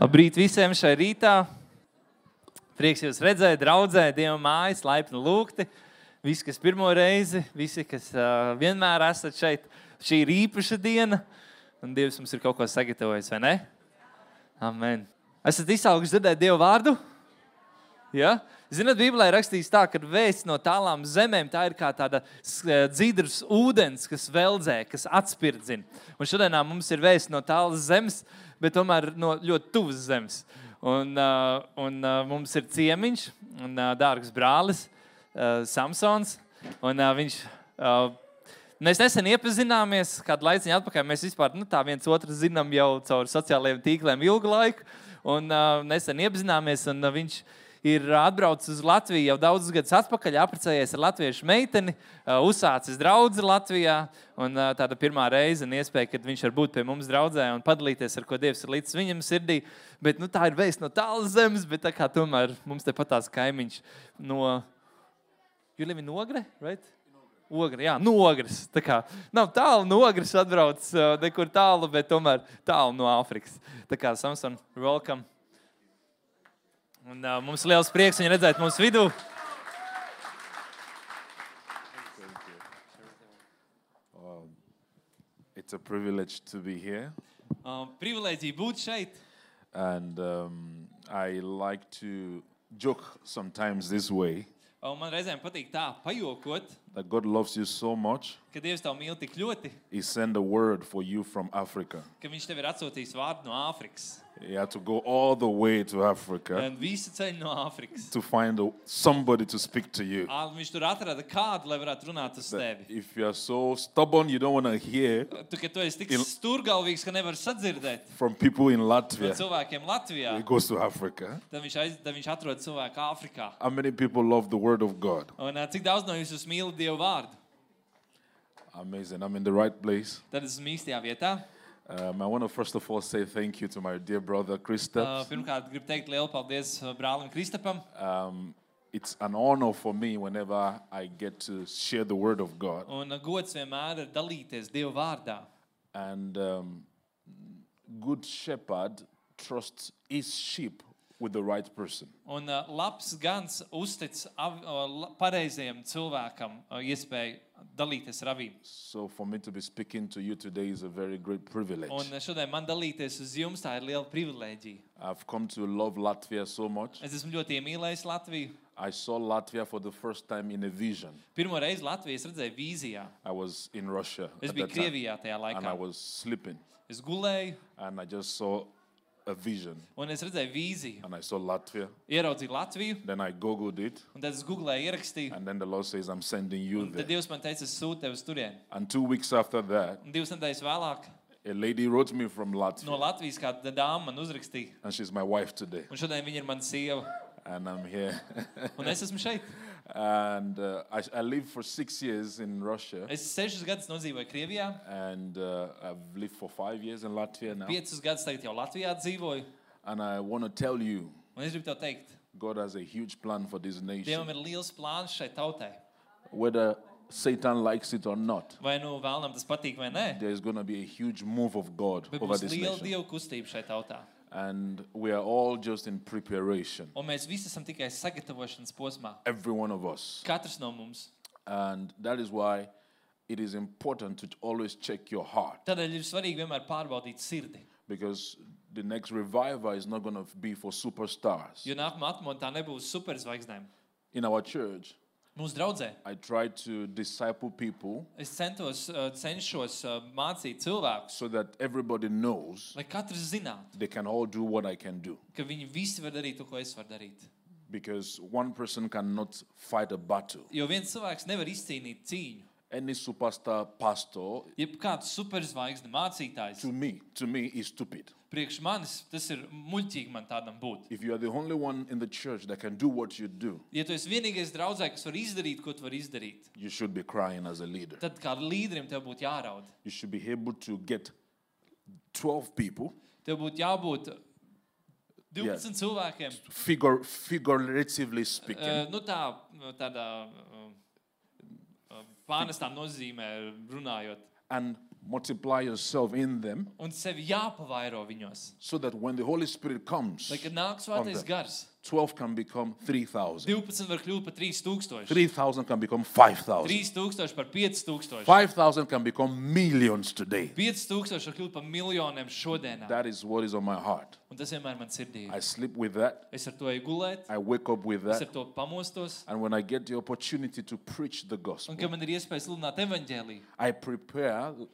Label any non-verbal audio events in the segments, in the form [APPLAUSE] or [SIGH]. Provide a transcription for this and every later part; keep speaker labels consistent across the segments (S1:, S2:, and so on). S1: Labrīt visiem šai rītā. Prieks jūs redzēt, draudzē, Dieva mājas, laipni lūgti. Visi, kas pirmo reizi, visi, kas uh, vienmēr esat šeit, šī ir īpaša diena. Un Dievs mums ir kaut ko sagatavojis, vai ne? Amen. Esat izauguši dzirdēt Dieva vārdu? Ja? Ziniet, Bībelē rakstīts tā, ka vēsts no tālām zemēm tā ir kā tāda s- eh, dzidrs ūdens, kas veldzē, kas atspirdzina. Un šodienā mums ir vēsts no tālas zemes, bet tomēr no ļoti tuvas zemes. Un, uh, un uh, mums ir ciemiņš un uh, dārgs brālis uh, Samsons. Un, uh, viņš, uh, mēs nesen iepazināmies, kādu laiku atpakaļ. Mēs vispār nu, tā viens otru zinām jau caur sociālajiem tīkliem ilgu laiku. Un uh, nesen iepazināmies, un uh, viņš ir atbraucis uz Latviju jau daudzus gadus atpakaļ, apprecējies ar latviešu meiteni, uh, uzsācis draugu Latvijā. Un, uh, tāda pirmā reize, un iespēja, kad viņš var būt pie mums draudzē un padalīties ar ko Dievs ir līdz viņam sirdī. Bet nu, tā ir vēsts no tālas zemes, bet tā kā tomēr mums tepat tās kaimiņš no Julija Nogre, right? Ogra, jā, no ogres. Tā kā nav tālu no ogres, atbrauc uh, nekur tālu, bet tomēr tālu no Āfrikas. Tā kā Samson, welcome. Un, uh, mums ir liels prieks viņu redzēt mūsu vidū.
S2: It's a privilege to be here,
S1: Uh, privilēģija būt šeit.
S2: and um, I like to joke sometimes this way
S1: Un man reizēm patīk tā, pajokot,
S2: that God loves you so much,
S1: ka Dievs tev mīl tik ļoti,
S2: He sent a word for you from Africa.
S1: ka Viņš tev ir atsūtījis vārdu no Āfrikas.
S2: You had to go all the way to Africa
S1: Un Visu ceļu no Āfrikas.
S2: to find a, somebody to speak to you.
S1: Ā, Viņš tur atrada kādu, lai varētu runāt uz
S2: That
S1: tevi.
S2: if you are so stubborn, you don't want to hear
S1: Tu, ka tu esi tik
S2: Il-
S1: stūrgalvīgs, ka nevar sadzirdēt
S2: from people in
S1: no
S2: Latvia,
S1: cilvēkiem Latvijā.
S2: He goes to Africa.
S1: Tad viņš, aiz, tad viņš atrod cilvēku Āfrikā.
S2: How many people love the Word of God?
S1: Un, ā, cik daudz no jums mīl Dieva vārdu?
S2: Amazing. I'm in the right place.
S1: Tad esmu īstajā vietā.
S2: Um, I want to first of all say thank you to my dear brother
S1: Uh,
S2: Christoph.
S1: pirmkārt, gribu teikt lielu paldies ā, brālim Kristapam.
S2: Um, it's an honor for me whenever I get to share the word of God.
S1: Un ā, gods vienmēr ir dalīties Dieva vārdā.
S2: And um, good shepherd trusts his sheep with the right person.
S1: Un ā, labs gans uztic av- ā, la- pareizajam cilvēkam ā, iespēju dalīties ar avīm.
S2: So for me to be speaking to you today is a very great privilege.
S1: Un ā, šodien man dalīties uz jums tā ir liela privilēģija.
S2: I've come to love Latvia so much.
S1: Es esmu ļoti iemīlējis Latviju.
S2: I saw Latvia for the first time in a vision.
S1: Pirmo reizi Latviju es redzēju vīzijā.
S2: I was in Russia
S1: Es
S2: at
S1: biju
S2: that time,
S1: Krievijā tajā
S2: and I
S1: laikā.
S2: was sleeping,
S1: Es gulēju
S2: and I just saw a vision,
S1: un es redzēju vīziju.
S2: and I saw Latvia.
S1: ieraudzīju Latviju,
S2: Then I googled it,
S1: un tad es googlēju, ierakstīju.
S2: and then the Lord says, "I'm sending you
S1: Un
S2: there."
S1: tad Dievs man teica, es sūtu tevi uz turieni.
S2: And two weeks after that,
S1: Un divas nedēļas vēlāk
S2: a lady wrote me from Latvia,
S1: no Latvijas kāda dāma man uzrakstīja.
S2: and she's my wife today,
S1: Un šodien viņa ir mana sieva.
S2: and I'm here. [LAUGHS]
S1: Un es esmu šeit.
S2: and uh, I, I lived for six years in Russia,
S1: Es sešus gadus nodzīvoju Krievijā,
S2: and uh, I've lived for five years in Latvia now.
S1: piecus gadus tagad jau Latvijā dzīvoju.
S2: And I want to tell you,
S1: Un es gribu tev teikt,
S2: God has a huge plan for this
S1: Dievam
S2: nation,
S1: ir liels plāns šai tautai.
S2: whether Satan likes it or not.
S1: Vai nu vēlnam tas patīk vai nē,
S2: There is going to be a huge move of God
S1: bet
S2: over
S1: būs
S2: this
S1: liela
S2: nation,
S1: dievu kustība šai tautā.
S2: and we are all just in preparation.
S1: Un mēs visi esam tikai sagatavošanas posmā.
S2: Every one of us.
S1: Katrs no mums.
S2: And that is why it is important to always check your heart
S1: Tādēļ ir svarīgi vienmēr pārbaudīt sirdi.
S2: because the next revival is not going to be for superstars.
S1: Jo nākamā atmontā nebūs superzvaigznēm.
S2: In our church,
S1: Mūsu draudzē
S2: I try to disciple people
S1: es centos, uh, cenšos uh, mācīt cilvēkus,
S2: so that everybody knows
S1: lai katrs zinātu,
S2: they can all do what I can do.
S1: ka viņi visi var darīt to, ko es varu darīt.
S2: Because one person cannot fight a battle.
S1: Jo viens cilvēks nevar izcīnīt cīņu.
S2: Any superstar pastor,
S1: Jebkāds superzvaigznes mācītājs
S2: to me, to me, is stupid.
S1: priekš manis, tas ir muļķīgi man tādam būt.
S2: If you are the only one in the church that can do what you do,
S1: Ja tu esi vienīgais draugs, kas var izdarīt, ko tu vari izdarīt,
S2: you should be crying as a leader.
S1: tad kā līderim tev būtu jāraud.
S2: You should be able to get 12 people
S1: Tev būtu jābūt 12 yeah. cilvēkiem.
S2: figure, figuratively speaking,
S1: Uh, nu tā, nu tādā uh, uh, pārnestā nozīmē runājot.
S2: and multiply yourself in them
S1: un sevi jāpavairo viņos.
S2: so that when the Holy Spirit comes,
S1: Lai, kad nāk
S2: On
S1: svētais
S2: the-
S1: gars,
S2: 12 can become 3,000.
S1: 12 var kļūt par 3000,
S2: 3,000 can become 5,000.
S1: 3000 par 5000,
S2: 5,000 can become millions today.
S1: 5000 var kļūt par miljoniem šodienā.
S2: That is what is on my heart.
S1: Un tas vienmēr man sirdī. ir.
S2: I sleep with that.
S1: Es ar to eju gulēt,
S2: I wake up with
S1: es
S2: that.
S1: ar to pamostos.
S2: And when I get the opportunity to preach the
S1: Un,
S2: gospel,
S1: kad man ir iespēja sludināt evaņģēlīju,
S2: I prepare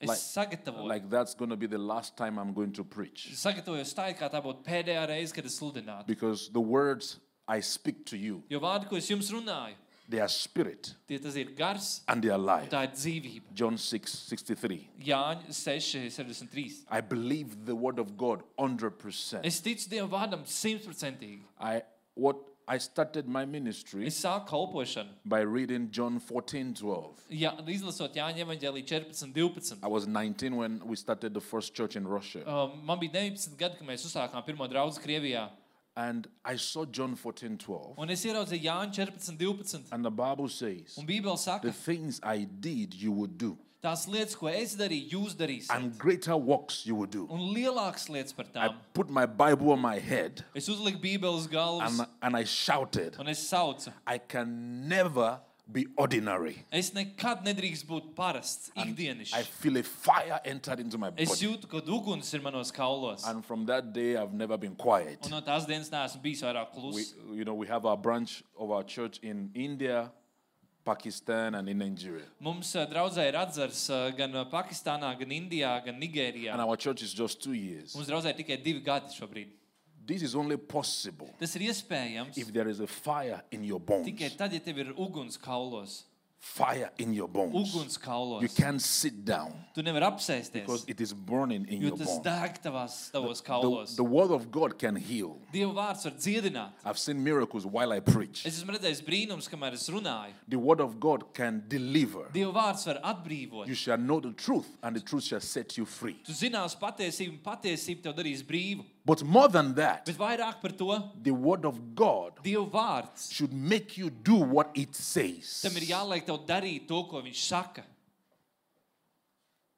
S1: es
S2: Lai-
S1: sagatavoju.
S2: like that's going to be the last time I'm going to preach.
S1: Es sagatavojos tā, it kā tā būtu pēdējā reize, kad es sludinātu.
S2: Because the words I speak to you,
S1: Jo vārdi, ko es jums runāju,
S2: they are spirit
S1: tie tas ir gars,
S2: and they are life.
S1: tā ir dzīvība.
S2: John 6 63.
S1: Jāņa 6, 73.
S2: I believe the word of God 100%.
S1: Es ticu Dievam vārdam simtprocentīgi.
S2: I what I started my ministry
S1: Es sāku kalpošanu.
S2: by reading John 14 12.
S1: Jā, izlasot Jāņa evaņģēlī 14, 12.
S2: I was 19 when we started the first church in Russia.
S1: Um, man bija 19 gadi, kad mēs uzsākām pirmo draugu Krievijā.
S2: And I saw John 14 12.
S1: Un es ieraudzīju Jāņa 14, 12.
S2: And the Bible says,
S1: Un Bībele
S2: The
S1: saka,
S2: things I did, you would do,
S1: tās lietas, ko es darīju, jūs darīsiet.
S2: and greater works you would do.
S1: Un lielākas lietas par
S2: I
S1: tām.
S2: put my Bible on my head
S1: Es uzliku Bībeles galvas
S2: and, and I shouted,
S1: un es saucu.
S2: I can never be ordinary.
S1: Es nekad nedrīkst būt parasts, ikdienišs.
S2: I feel a fire entered into my
S1: Es
S2: body.
S1: jūtu, ka uguns ir manos kaulos.
S2: And from that day, I've never been quiet.
S1: Un no tās dienas neesmu bijis vairāk
S2: We,
S1: kluss.
S2: you know, we have our branch of our church in India, Pakistan, and in Nigeria.
S1: Mums ā, draudzē ir atzars ā, gan ā, Pakistānā, gan Indijā, gan Nigērijā.
S2: And our church is just two years.
S1: Mums draudzē ir tikai divi gadi šobrīd.
S2: This is only possible
S1: Tas ir iespējams
S2: if there is a fire in your
S1: tikai
S2: bones.
S1: tad, ja tev ir uguns kaulos.
S2: Fire in your bones.
S1: Uguns
S2: You
S1: kaulos.
S2: can't sit down
S1: Tu nevari
S2: because
S1: apsēsties,
S2: it is burning in
S1: jo
S2: your
S1: tas
S2: bones.
S1: deg tavās tavos
S2: The,
S1: kaulos.
S2: the word of God can heal.
S1: Dieva vārds var dziedināt.
S2: I've seen miracles while I preach.
S1: Es esmu redzējis brīnums, kamēr es runāju.
S2: The word of God can deliver.
S1: Dieva vārds var atbrīvot.
S2: You shall know the truth, and the truth shall set you free.
S1: Tu zinās patiesību, un patiesība tev darīs brīvu.
S2: But more than that,
S1: Bet vairāk par to
S2: the word of God
S1: Dieva vārds.
S2: should make you do what it says.
S1: Tam ir jāliek tev darīt to, ko viņš saka.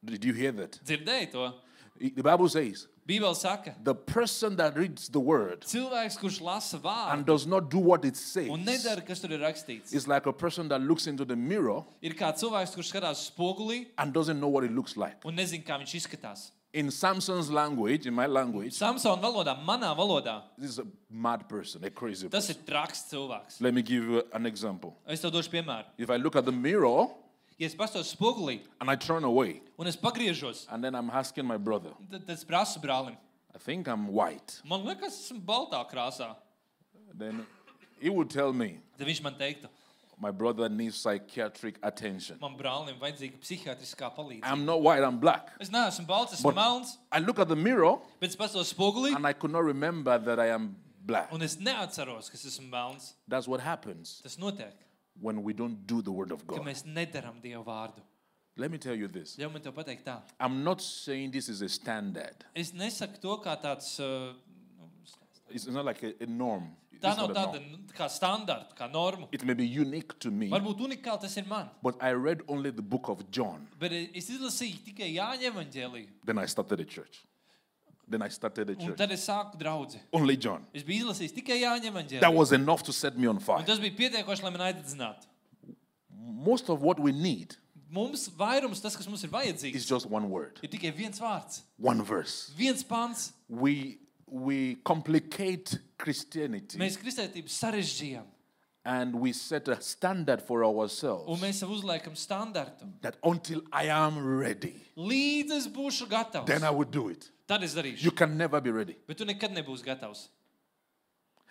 S2: Did you hear that?
S1: Dzirdēji to?
S2: It- The Bible says
S1: Bībele saka,
S2: the person that reads the word
S1: cilvēks, kurš lasa
S2: and
S1: vārdu
S2: does not do what it says
S1: un nedara, kas tur ir rakstīts,
S2: is like a person that looks into the mirror
S1: ir kā cilvēks, kurš skatās uz spoguli
S2: and doesn't know what it looks like.
S1: un nezina, kā viņš izskatās.
S2: In Samson's language, in my language,
S1: Samsona valodā, manā valodā,
S2: this is a mad person, a crazy
S1: tas
S2: person.
S1: ir traks cilvēks.
S2: Let me give you an example.
S1: Es tev došu piemēru.
S2: If I look at the mirror
S1: Ja es pastos spogulī
S2: and I turn away,
S1: un es pagriežos,
S2: and then I'm asking my brother,
S1: tad tad es prasu brālim.
S2: I think I'm white.
S1: Man liekas, esmu baltā krāsā.
S2: Then he would tell me,
S1: Tad viņš man teiktu,
S2: my brother needs psychiatric attention.
S1: man brālim vajadzīga psihiatriskā palīdzība.
S2: I'm not white, I'm black.
S1: Es neesmu balts, esmu
S2: But-
S1: melns,
S2: I look at the mirror
S1: bet es paskatos spogulī
S2: and I could not remember that I am black.
S1: un es neatceros, kas esmu melns.
S2: That's what happens
S1: Tas notiek,
S2: when we don't do the word of
S1: ka
S2: God.
S1: mēs nedaram Dieva vārdu.
S2: Let me tell you this.
S1: Ļauj man te pateikt tā.
S2: I'm not saying this is a standard.
S1: Es nesaku to kā tāds. uh, nu,
S2: It's not like a, a norm. It's
S1: Tā
S2: not
S1: nav
S2: a
S1: tāda
S2: norm.
S1: nu, kā standarta, kā norma.
S2: It may be unique to me,
S1: Varbūt unikāli tas ir man.
S2: but I read only the book of John.
S1: Bet eh, es izlasīju tikai Jāņa evanģēliju.
S2: Then I started a church. Then I started a
S1: Un
S2: church.
S1: tad es sāku draugu.
S2: Only John.
S1: Es biju izlasījis tikai Jāņa
S2: That
S1: evanģēliju.
S2: was enough to set me on fire.
S1: Un tas bija pietiekoši, lai man aicinātu.
S2: Most of what we need
S1: Mums vairums, tas, kas mums ir
S2: is
S1: vajadzīgs,
S2: just one word,
S1: ir tikai viens vārds,
S2: one verse.
S1: viens pants.
S2: We we complicate Christianity
S1: Mēs kristētību sarežģījām,
S2: and we set a standard for
S1: un
S2: ourselves
S1: mēs sev uzliekam standartu.
S2: that until I am ready,
S1: Līdz es būšu gatavs,
S2: then I will do it.
S1: tad es
S2: You
S1: darīšu.
S2: can never be ready.
S1: Bet tu nekad nebūsi gatavs.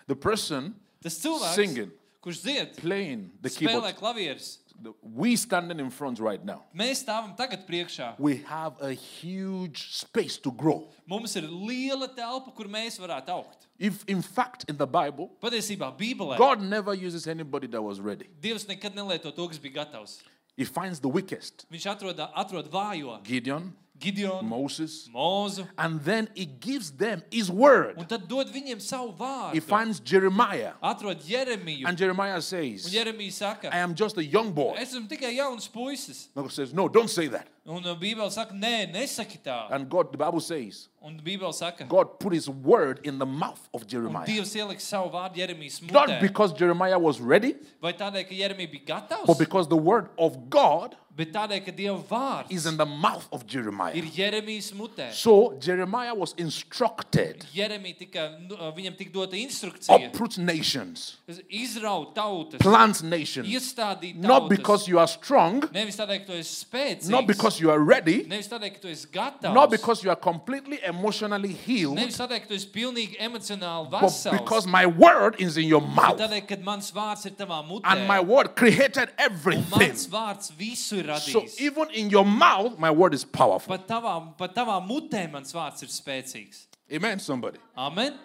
S2: The person
S1: Tas cilvēks,
S2: Singing.
S1: kurš dzied,
S2: playing the
S1: spēlē
S2: keyboard,
S1: klavierus,
S2: the- we standing in front right now,
S1: mēs stāvam tagad priekšā.
S2: we have a huge space to grow.
S1: Mums ir liela telpa, kur mēs varētu augt.
S2: If in fact in the Bible,
S1: Patiesībā Bībelē
S2: God never uses anybody that was ready.
S1: Dievs nekad nelieto to, kas bija gatavs.
S2: He finds the weakest,
S1: Viņš atrod, atrod vājo
S2: Gideon,
S1: Gideonu,
S2: Moses,
S1: Mozu,
S2: and then he gives them his word.
S1: un tad dod viņiem savu
S2: He
S1: vārdu.
S2: finds Jeremiah,
S1: Atrod Jeremiju,
S2: and Jeremiah
S1: un
S2: says,
S1: Jeremija saka,
S2: I am just a young boy.
S1: Es esmu tikai jauns puisis.
S2: And God says, No, don't say that.
S1: Un uh, Bībele saka, nē, nesaki tā.
S2: And God, the Bible says,
S1: Un Bībele saka,
S2: God put his word in the mouth of
S1: un
S2: Jeremiah.
S1: Dievs ieliks savu vārdu Jeremijas
S2: Not
S1: mutē.
S2: because Jeremiah was ready,
S1: Vai tādēļ, ka Jeremija bija
S2: but
S1: gatavs,
S2: because the word of God
S1: bet tādēļ, ka Dieva
S2: is
S1: vārds
S2: in the mouth of Jeremiah.
S1: ir Jeremijas mutē.
S2: So Jeremiah was instructed
S1: Jeremija tika, nu, uh, viņam tika dota instrukcija
S2: uproot nations,
S1: izraut tautas,
S2: plant nations.
S1: iestādīt
S2: Not
S1: tautas.
S2: because you are strong,
S1: Nevis tādēļ, ka tu esi spēcīgs.
S2: not because you are ready,
S1: Nevis tādēļ, ka tu esi gatavs.
S2: not because you are completely emotionally healed,
S1: Nevis tādēļ, ka tu esi pilnīgi emocionāli
S2: but
S1: vesels.
S2: because my word is in your
S1: bet
S2: mouth.
S1: Tādēļ, kad mans vārds ir tavā mutē.
S2: And my word created
S1: un
S2: everything.
S1: mans vārds visu ir
S2: So
S1: radījis.
S2: even in your mouth, my word is powerful.
S1: Pat tavā, pat tavā mutē mans vārds ir spēcīgs.
S2: Amen, somebody.
S1: Amen.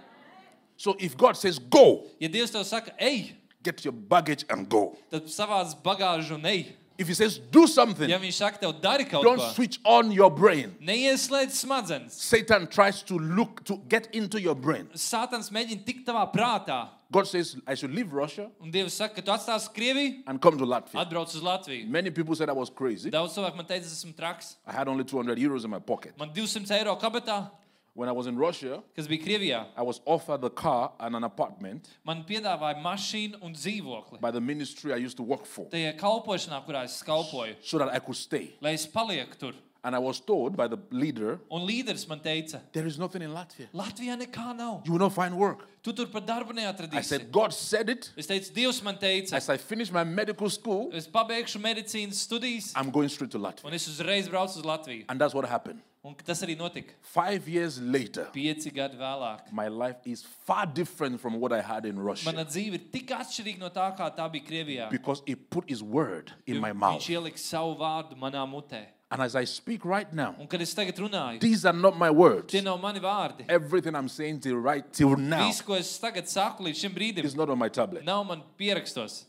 S2: So if God says go,
S1: Ja Dievs tev saka, ej,
S2: get your baggage and go.
S1: tad savāc bagāžu un ej.
S2: If he says do something,
S1: Ja viņš saka, tev dari kaut
S2: don't
S1: ko,
S2: switch on your brain.
S1: neieslēdz smadzenes.
S2: Satan tries to look to get into your brain.
S1: Sātans mēģina tikt tavā prātā.
S2: God says I should leave Russia
S1: Un Dievs saka, ka tu atstāsi Krieviju,
S2: and come to Latvia.
S1: atbrauc uz Latviju.
S2: Many people said I was crazy.
S1: Daudz cilvēku man teica, es esmu traks.
S2: I had only 200 euros in my pocket.
S1: Man 200 eiro kabatā,
S2: When I was in Russia,
S1: kas bija Krievijā.
S2: I was offered the car and an apartment
S1: Man piedāvāja mašīnu un dzīvokli.
S2: by the ministry I used to work for
S1: Tajā kalpošanā, kurā es kalpoju,
S2: so that I could stay.
S1: lai es palieku tur.
S2: And I was told by the leader,
S1: Un līderis man teica,
S2: there is nothing in Latvia.
S1: Latvijā nekā nav.
S2: You will not find work.
S1: Tu tur pat darbu
S2: I
S1: neatradīsi.
S2: said, God said it.
S1: Es teicu, Dievs man teica,
S2: As I finished my medical school,
S1: es pabeigšu medicīnas studijas,
S2: I'm going straight to Latvia.
S1: un es uzreiz braucu uz Latviju.
S2: And that's what happened.
S1: Un tas arī notika.
S2: Five years later,
S1: Pieci gadi vēlāk.
S2: my life is far different from what I had in Russia
S1: Mana dzīve ir tik atšķirīga no tā, kā tā bija Krievijā.
S2: because he put his word in my
S1: Viņš
S2: mouth.
S1: ielika savu vārdu manā mutē.
S2: And as I speak right now,
S1: Un kad es tagad runāju,
S2: these are not my words.
S1: tie nav mani vārdi.
S2: Everything I'm saying till right till now
S1: Viss, ko es tagad saku līdz šim brīdim,
S2: is not on my tablet.
S1: nav man pierakstos.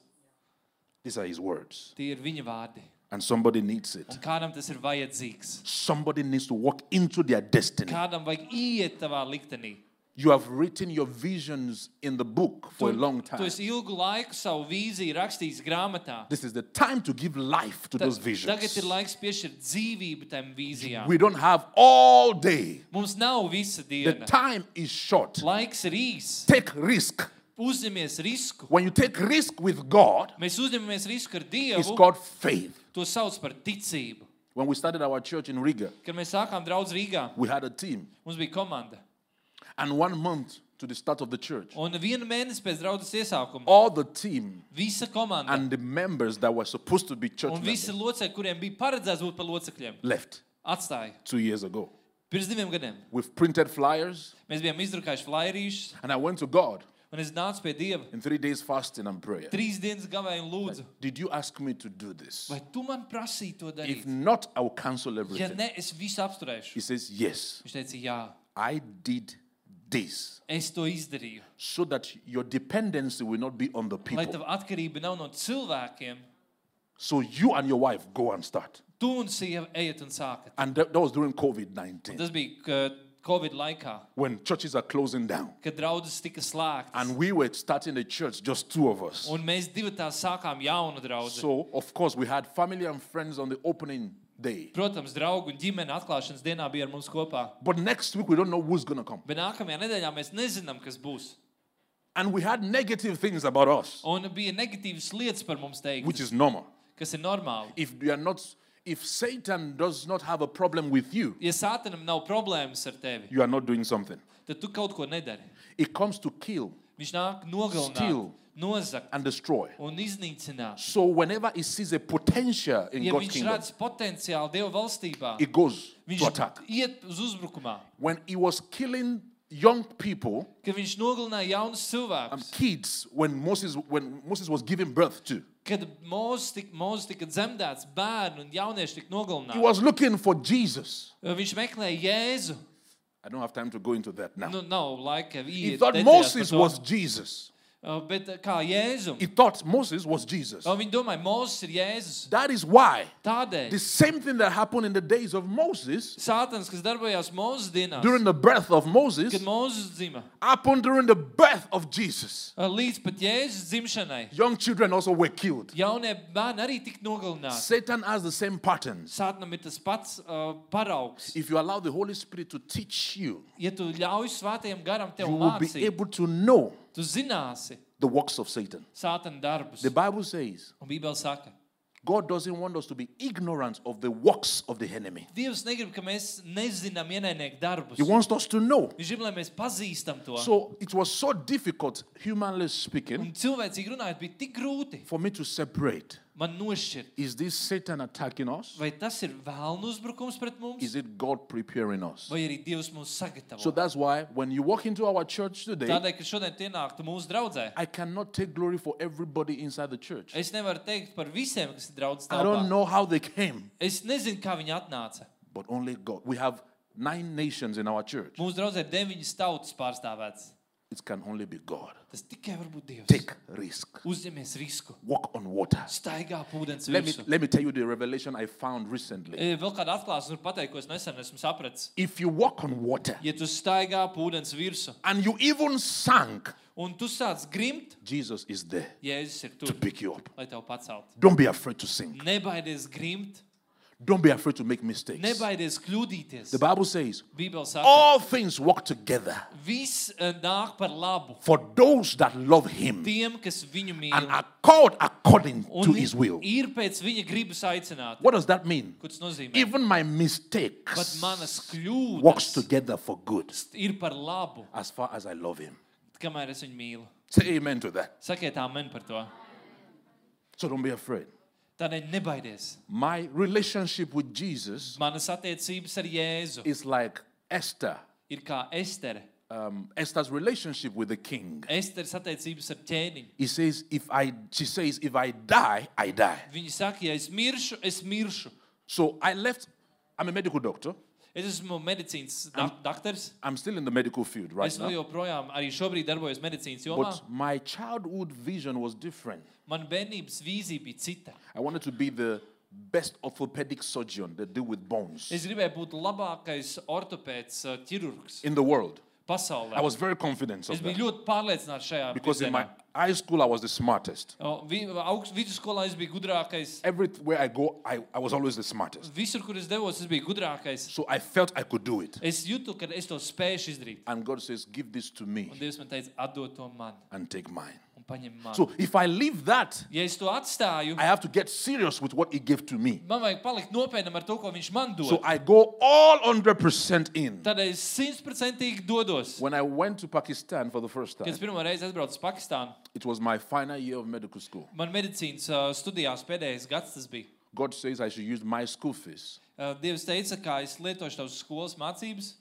S2: These are his words.
S1: Tie ir viņa vārdi.
S2: And somebody needs it.
S1: Un kādam tas ir vajadzīgs?
S2: Somebody needs to walk into their destiny.
S1: Kādam vajag iet tavā liktenī?
S2: You have written your visions in the book for a long
S1: Tu
S2: time.
S1: esi ilgu laiku savu vīziju rakstījis grāmatā.
S2: This is the time to give life to
S1: Ta-
S2: those
S1: Tagad ir
S2: visions.
S1: laiks piešķirt dzīvību tam vīzijām.
S2: We don't have all day.
S1: Mums nav visa
S2: The
S1: diena.
S2: time is short.
S1: Laiks ir īss.
S2: Take risk.
S1: Uzņemies risku.
S2: When you take risk with God,
S1: Mēs uzņemamies risku ar
S2: it's
S1: Dievu.
S2: called faith.
S1: To sauc par ticību.
S2: When we started our church in Riga,
S1: Kad mēs sākām draudzīt Rīgā,
S2: we had a team.
S1: mums bija komanda.
S2: And one month to the start of the church,
S1: Un vienu mēnesi pēc draudzes iesākuma
S2: all the team
S1: visa komanda
S2: and the members that were supposed to be church
S1: un visi
S2: members
S1: locekļi, kuriem bija paredzēts būt par locekļiem,
S2: left
S1: atstāja.
S2: two years ago.
S1: Pirms diviem gadiem
S2: We've printed flyers,
S1: mēs bijām izdrukājuši flyerīšus,
S2: and I went to God
S1: un es nācu pie Dieva.
S2: in three days fasting and prayer.
S1: Trīs dienas gavēju un lūdzu,
S2: Did you ask me to do this?
S1: vai tu man prasīji to
S2: If
S1: darīt?
S2: not, I will cancel
S1: Ja
S2: everything.
S1: nē, es visu apsturēšu.
S2: He says, Yes,
S1: Viņš teica, jā,
S2: I did this
S1: es to izdarīju.
S2: so that your dependency will not be on the
S1: Lai
S2: people.
S1: tā atkarība nav no cilvēkiem,
S2: So you and your wife go and start.
S1: tu un sieva ejiet un sākat.
S2: And that, that was during COVID 19
S1: Tas bija ka, Covid laikā,
S2: when churches are closing down.
S1: kad draudzes tika slēgtas.
S2: And we were starting a church, just two of us.
S1: Un mēs divi tā sākām jaunu draugu.
S2: So, of course, we had family and friends on the opening day.
S1: Protams, draugu un ģimenes atklāšanas dienā bija ar mums kopā.
S2: But next week, we don't know who's going to come.
S1: Bet nākamajā nedēļā mēs nezinām, kas būs.
S2: And we had negative things about us,
S1: Un bija negatīvas lietas par mums teikt,
S2: which is normal.
S1: kas ir normāli.
S2: If you are not, if Satan does not have a problem with you,
S1: Ja sātanam nav problēmas ar tevi,
S2: you are not doing something.
S1: tad tu kaut ko nedari.
S2: It comes to kill
S1: Viņš nāk nogalināt,
S2: Steal.
S1: nozagt
S2: and destroy.
S1: un iznīcināt.
S2: So whenever he sees a potential in
S1: Ja
S2: God's
S1: viņš
S2: kingdom,
S1: redz potenciālu Dieva valstībā,
S2: it goes to
S1: viņš
S2: attack.
S1: iet uz uzbrukumā.
S2: When he was killing young people
S1: Kad viņš nogalināja jaunus
S2: and
S1: cilvēkus,
S2: kids, when Moses when Moses was giving birth to,
S1: kad Mozus tika, Mozus tika dzemdēts, bērni un jaunieši tika
S2: he
S1: nogalināti, Uh,
S2: was looking for Jesus.
S1: viņš meklēja Jēzu.
S2: I don't have time to go into that now.
S1: Nu, nav laika
S2: He
S1: iet
S2: thought
S1: detaļās par
S2: Moses
S1: to.
S2: was Jesus.
S1: Uh, Bet uh, kā Jēzum,
S2: He thought Moses was Jesus.
S1: uh, viņi domāja, Mozus ir Jēzus.
S2: That is why
S1: Tādēļ
S2: the same thing that happened in the days of Moses,
S1: Sātans, kas darbojās Mozus dienā,
S2: during the birth of Moses,
S1: kad Mozus dzima,
S2: happened during the birth of Jesus.
S1: uh, līdz pat Jēzus dzimšanai,
S2: Young children also were killed.
S1: jaunie bērni arī tika nogalināti.
S2: Satan has the same patterns.
S1: Sātnam ir tas pats uh, paraugs.
S2: If you allow the Holy Spirit to teach you,
S1: Ja tu ļauj svētajam garam tev
S2: you will be
S1: mācīt,
S2: able to know
S1: tu zināsi
S2: the works of Satan.
S1: sātana darbus.
S2: The Bible says
S1: Un Bībele saka,
S2: God doesn't want us to be ignorant of the works of the enemy.
S1: Dievs negrib, ka mēs nezinām ienaidnieku darbus.
S2: He wants us to know.
S1: Viņš grib, lai mēs pazīstam to.
S2: So it was so difficult, humanly speaking,
S1: Un cilvēcīgi runājot, bija tik grūti
S2: for me to separate.
S1: man nošķirt,
S2: Is this Satan attacking us?
S1: vai tas ir vēlnu uzbrukums pret mums,
S2: Is it God preparing us?
S1: vai arī Dievs mūs
S2: So
S1: sagatavo.
S2: that's why when you walk into our church today,
S1: Tādēļ, ka šodien tu ienāktu mūsu draudzē,
S2: I cannot take glory for everybody inside the church.
S1: es nevaru teikt par visiem, kas ir draugs
S2: I don't
S1: telpā.
S2: know how they came,
S1: Es nezinu, kā viņi atnāca.
S2: but only God. We have nine nations in our church.
S1: Mūsu draudzē ir deviņas tautas pārstāvētas.
S2: It can only be God.
S1: Tas tikai var būt Dievs.
S2: Take risk.
S1: Uzņemies risku,
S2: Walk on water.
S1: staigā pa ūdens
S2: Let me,
S1: virsmu.
S2: let me tell you the revelation I found recently.
S1: E, Vēl kāda atklāsme, kur pateikt, ko es nesen esmu sapratis.
S2: If you walk on water
S1: Ja tu staigā pa ūdens virsmu
S2: and you even sank,
S1: un tu sāc grimt,
S2: Jesus is there
S1: Jēzus ir
S2: to
S1: tur,
S2: pick you up.
S1: lai tev paceltu.
S2: Don't be afraid to sink.
S1: Nebaidies grimt,
S2: Don't be afraid to make mistakes.
S1: nebaidies kļūdīties.
S2: The Bible says,
S1: Bībeli saka,
S2: all things work together
S1: viss e, nāk par labu
S2: for those that love him
S1: tiem, kas viņu
S2: and
S1: mīl.
S2: are called according to
S1: Un
S2: his will.
S1: ir pēc viņa gribas aicināt.
S2: What does that mean?
S1: Ko tas nozīmē?
S2: Even my
S1: Pat
S2: mistakes
S1: manas
S2: works
S1: kļūdas
S2: together for good
S1: ir par labu,
S2: as far as I love him.
S1: kamēr es viņu mīlu.
S2: Say amen to that.
S1: Sakiet, amen par to.
S2: So don't be afraid.
S1: Tādēļ nebaidies.
S2: My relationship with Jesus
S1: Manas attiecības ar Jēzu
S2: is like Esther,
S1: ir kā Estere.
S2: um, Esther's relationship with the king.
S1: Esteres attiecības ar ķēniņu.
S2: He says, if I, she says, if I die, I die.
S1: Viņa saka, ja es miršu, es miršu.
S2: So I left, I'm a medical doctor.
S1: Es esmu medicīnas dak- dakteris.
S2: I'm still in the medical field right
S1: Es vēl
S2: now.
S1: joprojām, arī šobrīd darbojos medicīnas jomā.
S2: But my childhood vision was different.
S1: Man bērnības vīzija bija cita.
S2: I wanted to be the best orthopedic surgeon that deal with bones
S1: Es gribēju būt labākais ortopēds, eh, ķirurgs
S2: in the world. I
S1: pasaulē.
S2: was very confident
S1: Es
S2: of
S1: biju
S2: that
S1: ļoti pārliecināts šajā
S2: because in my
S1: virzienā.
S2: high school I was the smartest.
S1: O, vi- augst- Vidusskolā es biju gudrākais.
S2: Everywhere I go, I, I was always the smartest.
S1: Visur, kur es devos, es biju gudrākais.
S2: So I felt I could do it.
S1: Es jūtu, ka es to spēju izdarīt.
S2: And God says, Give this to me
S1: Un Dievs man teica, atdod to man
S2: and take mine.
S1: un paņem man.
S2: So if I leave that,
S1: Ja es to atstāju,
S2: I have to get serious with what He gave to me.
S1: man vajag palikt nopietnam ar to, ko viņš man dod.
S2: So I go all 100% in.
S1: Tad es simtprocentīgi dodos.
S2: When I went to Pakistan for the first
S1: Kad
S2: time,
S1: es pirmo reizi aizbraucu uz Pakistānu,
S2: it was my final year of medical school.
S1: man medicīnas ā, studijās pēdējais gads tas bija.
S2: God says I should use my school fees,
S1: Ā, Dievs teica, ka es lietošu tavas skolas mācības,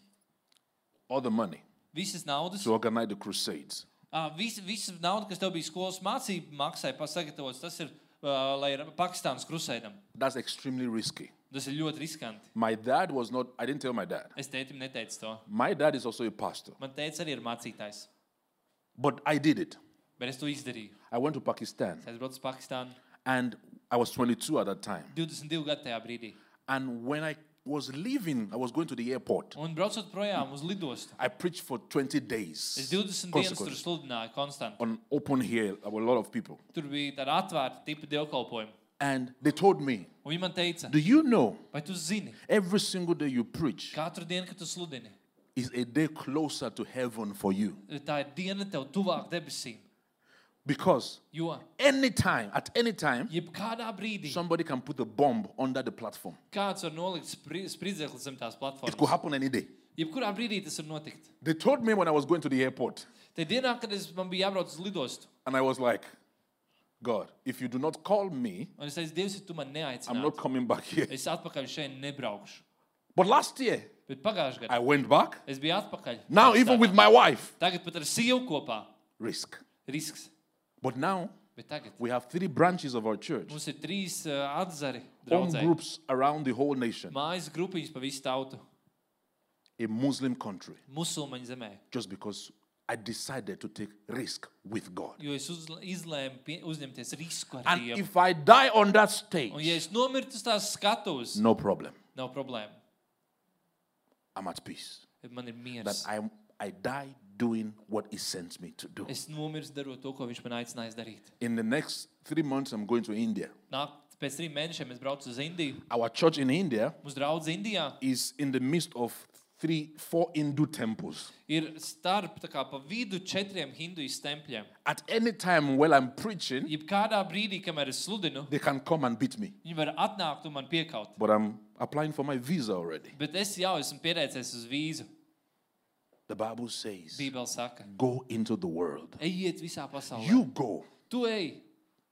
S2: all the money,
S1: visas naudas,
S2: to organize the crusades.
S1: ā, visa, visa nauda, kas tev bija skolas mācību maksai, pasagatavots, tas ir, ā, lai ir Pakistānas krusēdam.
S2: That's extremely risky.
S1: Tas ir ļoti riskanti.
S2: My dad was not, I didn't tell my dad.
S1: Es tētim neteicu to.
S2: My dad is also a pastor,
S1: Man teica, arī ir mācītājs.
S2: but I did it.
S1: Bet es to izdarīju.
S2: I went to Pakistan
S1: Es aizbraucu uz Pakistānu.
S2: and I was 22 at that time.
S1: 22 gadu tajā brīdī.
S2: And when I was leaving, I was going to the airport.
S1: Un braucot projām uz lidostu,
S2: I preached for 20
S1: es
S2: days
S1: 20 dienas tur
S2: Konsekvences.
S1: sludināju konstantu.
S2: on open here. There were a lot of people.
S1: Tur bija tāda atvērta tipa dievkalpojuma.
S2: And they told me,
S1: Un viņi man teica,
S2: Do you know
S1: vai tu zini,
S2: every single day you preach
S1: katru dienu, kad tu sludini,
S2: is a day closer to heaven for you?
S1: tā ir diena tev tuvāk debesīm.
S2: Because
S1: Jo
S2: anytime, at any time,
S1: jebkādā brīdī
S2: somebody can put a bomb under the platform.
S1: kāds var nolikt spri- spridzekli zem tās
S2: It could
S1: platformas.
S2: happen any day.
S1: Jebkurā brīdī tas var notikt.
S2: They told me when I was going to the airport,
S1: Te dienā, kad es, man bija jābrauc uz lidostu,
S2: and I was like, God, if you do not call me,
S1: un es teicu, Dievs, ja tu man
S2: I'm
S1: neaicini.
S2: not coming back here.
S1: Es atpakaļ šeit nebraukšu.
S2: But last year,
S1: Bet pagājušajā gadā
S2: I went back.
S1: es biju atpakaļ.
S2: Now, even with my wife,
S1: Tagad pat ar sievu kopā
S2: risk.
S1: risks.
S2: But now,
S1: Bet tagad
S2: we have three branches of our church,
S1: mums ir trīs uh, atzari
S2: home
S1: draudzē.
S2: groups around the whole nation,
S1: Mājas grupiņas pa visu tautu.
S2: a Muslim country,
S1: musulmaņu zemē.
S2: just because I decided to take risk with God.
S1: Jo es uz, izlēmu pie, uzņemties risku ar
S2: And
S1: Dievu.
S2: if Oh, I die on
S1: Un,
S2: that stage,
S1: ja es nomirtu uz tās skatuves,
S2: no problem.
S1: nav problēma.
S2: I'm at peace.
S1: Man ir
S2: That
S1: miers.
S2: I I die doing what He sends me to do.
S1: Es nomirstu darot to, ko viņš man aicinājis darīt.
S2: In the next three months, I'm going to India.
S1: Nāk, pēc trim mēnešiem es braucu uz Indiju.
S2: Our church in India
S1: Mūsu draugs Indijā
S2: is in the midst of three, four Hindu temples.
S1: ir starp tā kā pa vidu četriem hinduistu tempļiem.
S2: At any time while I'm preaching,
S1: Jebkurā brīdī, kamēr es sludinu,
S2: they can come and beat me.
S1: viņi var atnākt un man piekaut.
S2: But I'm applying for my visa already.
S1: Bet es jau esmu pieredzējis uz vīzu.
S2: The Bible says,
S1: Bībeli saka,
S2: go into the world.
S1: ejiet visā pasaulē.
S2: You go.
S1: Tu ej,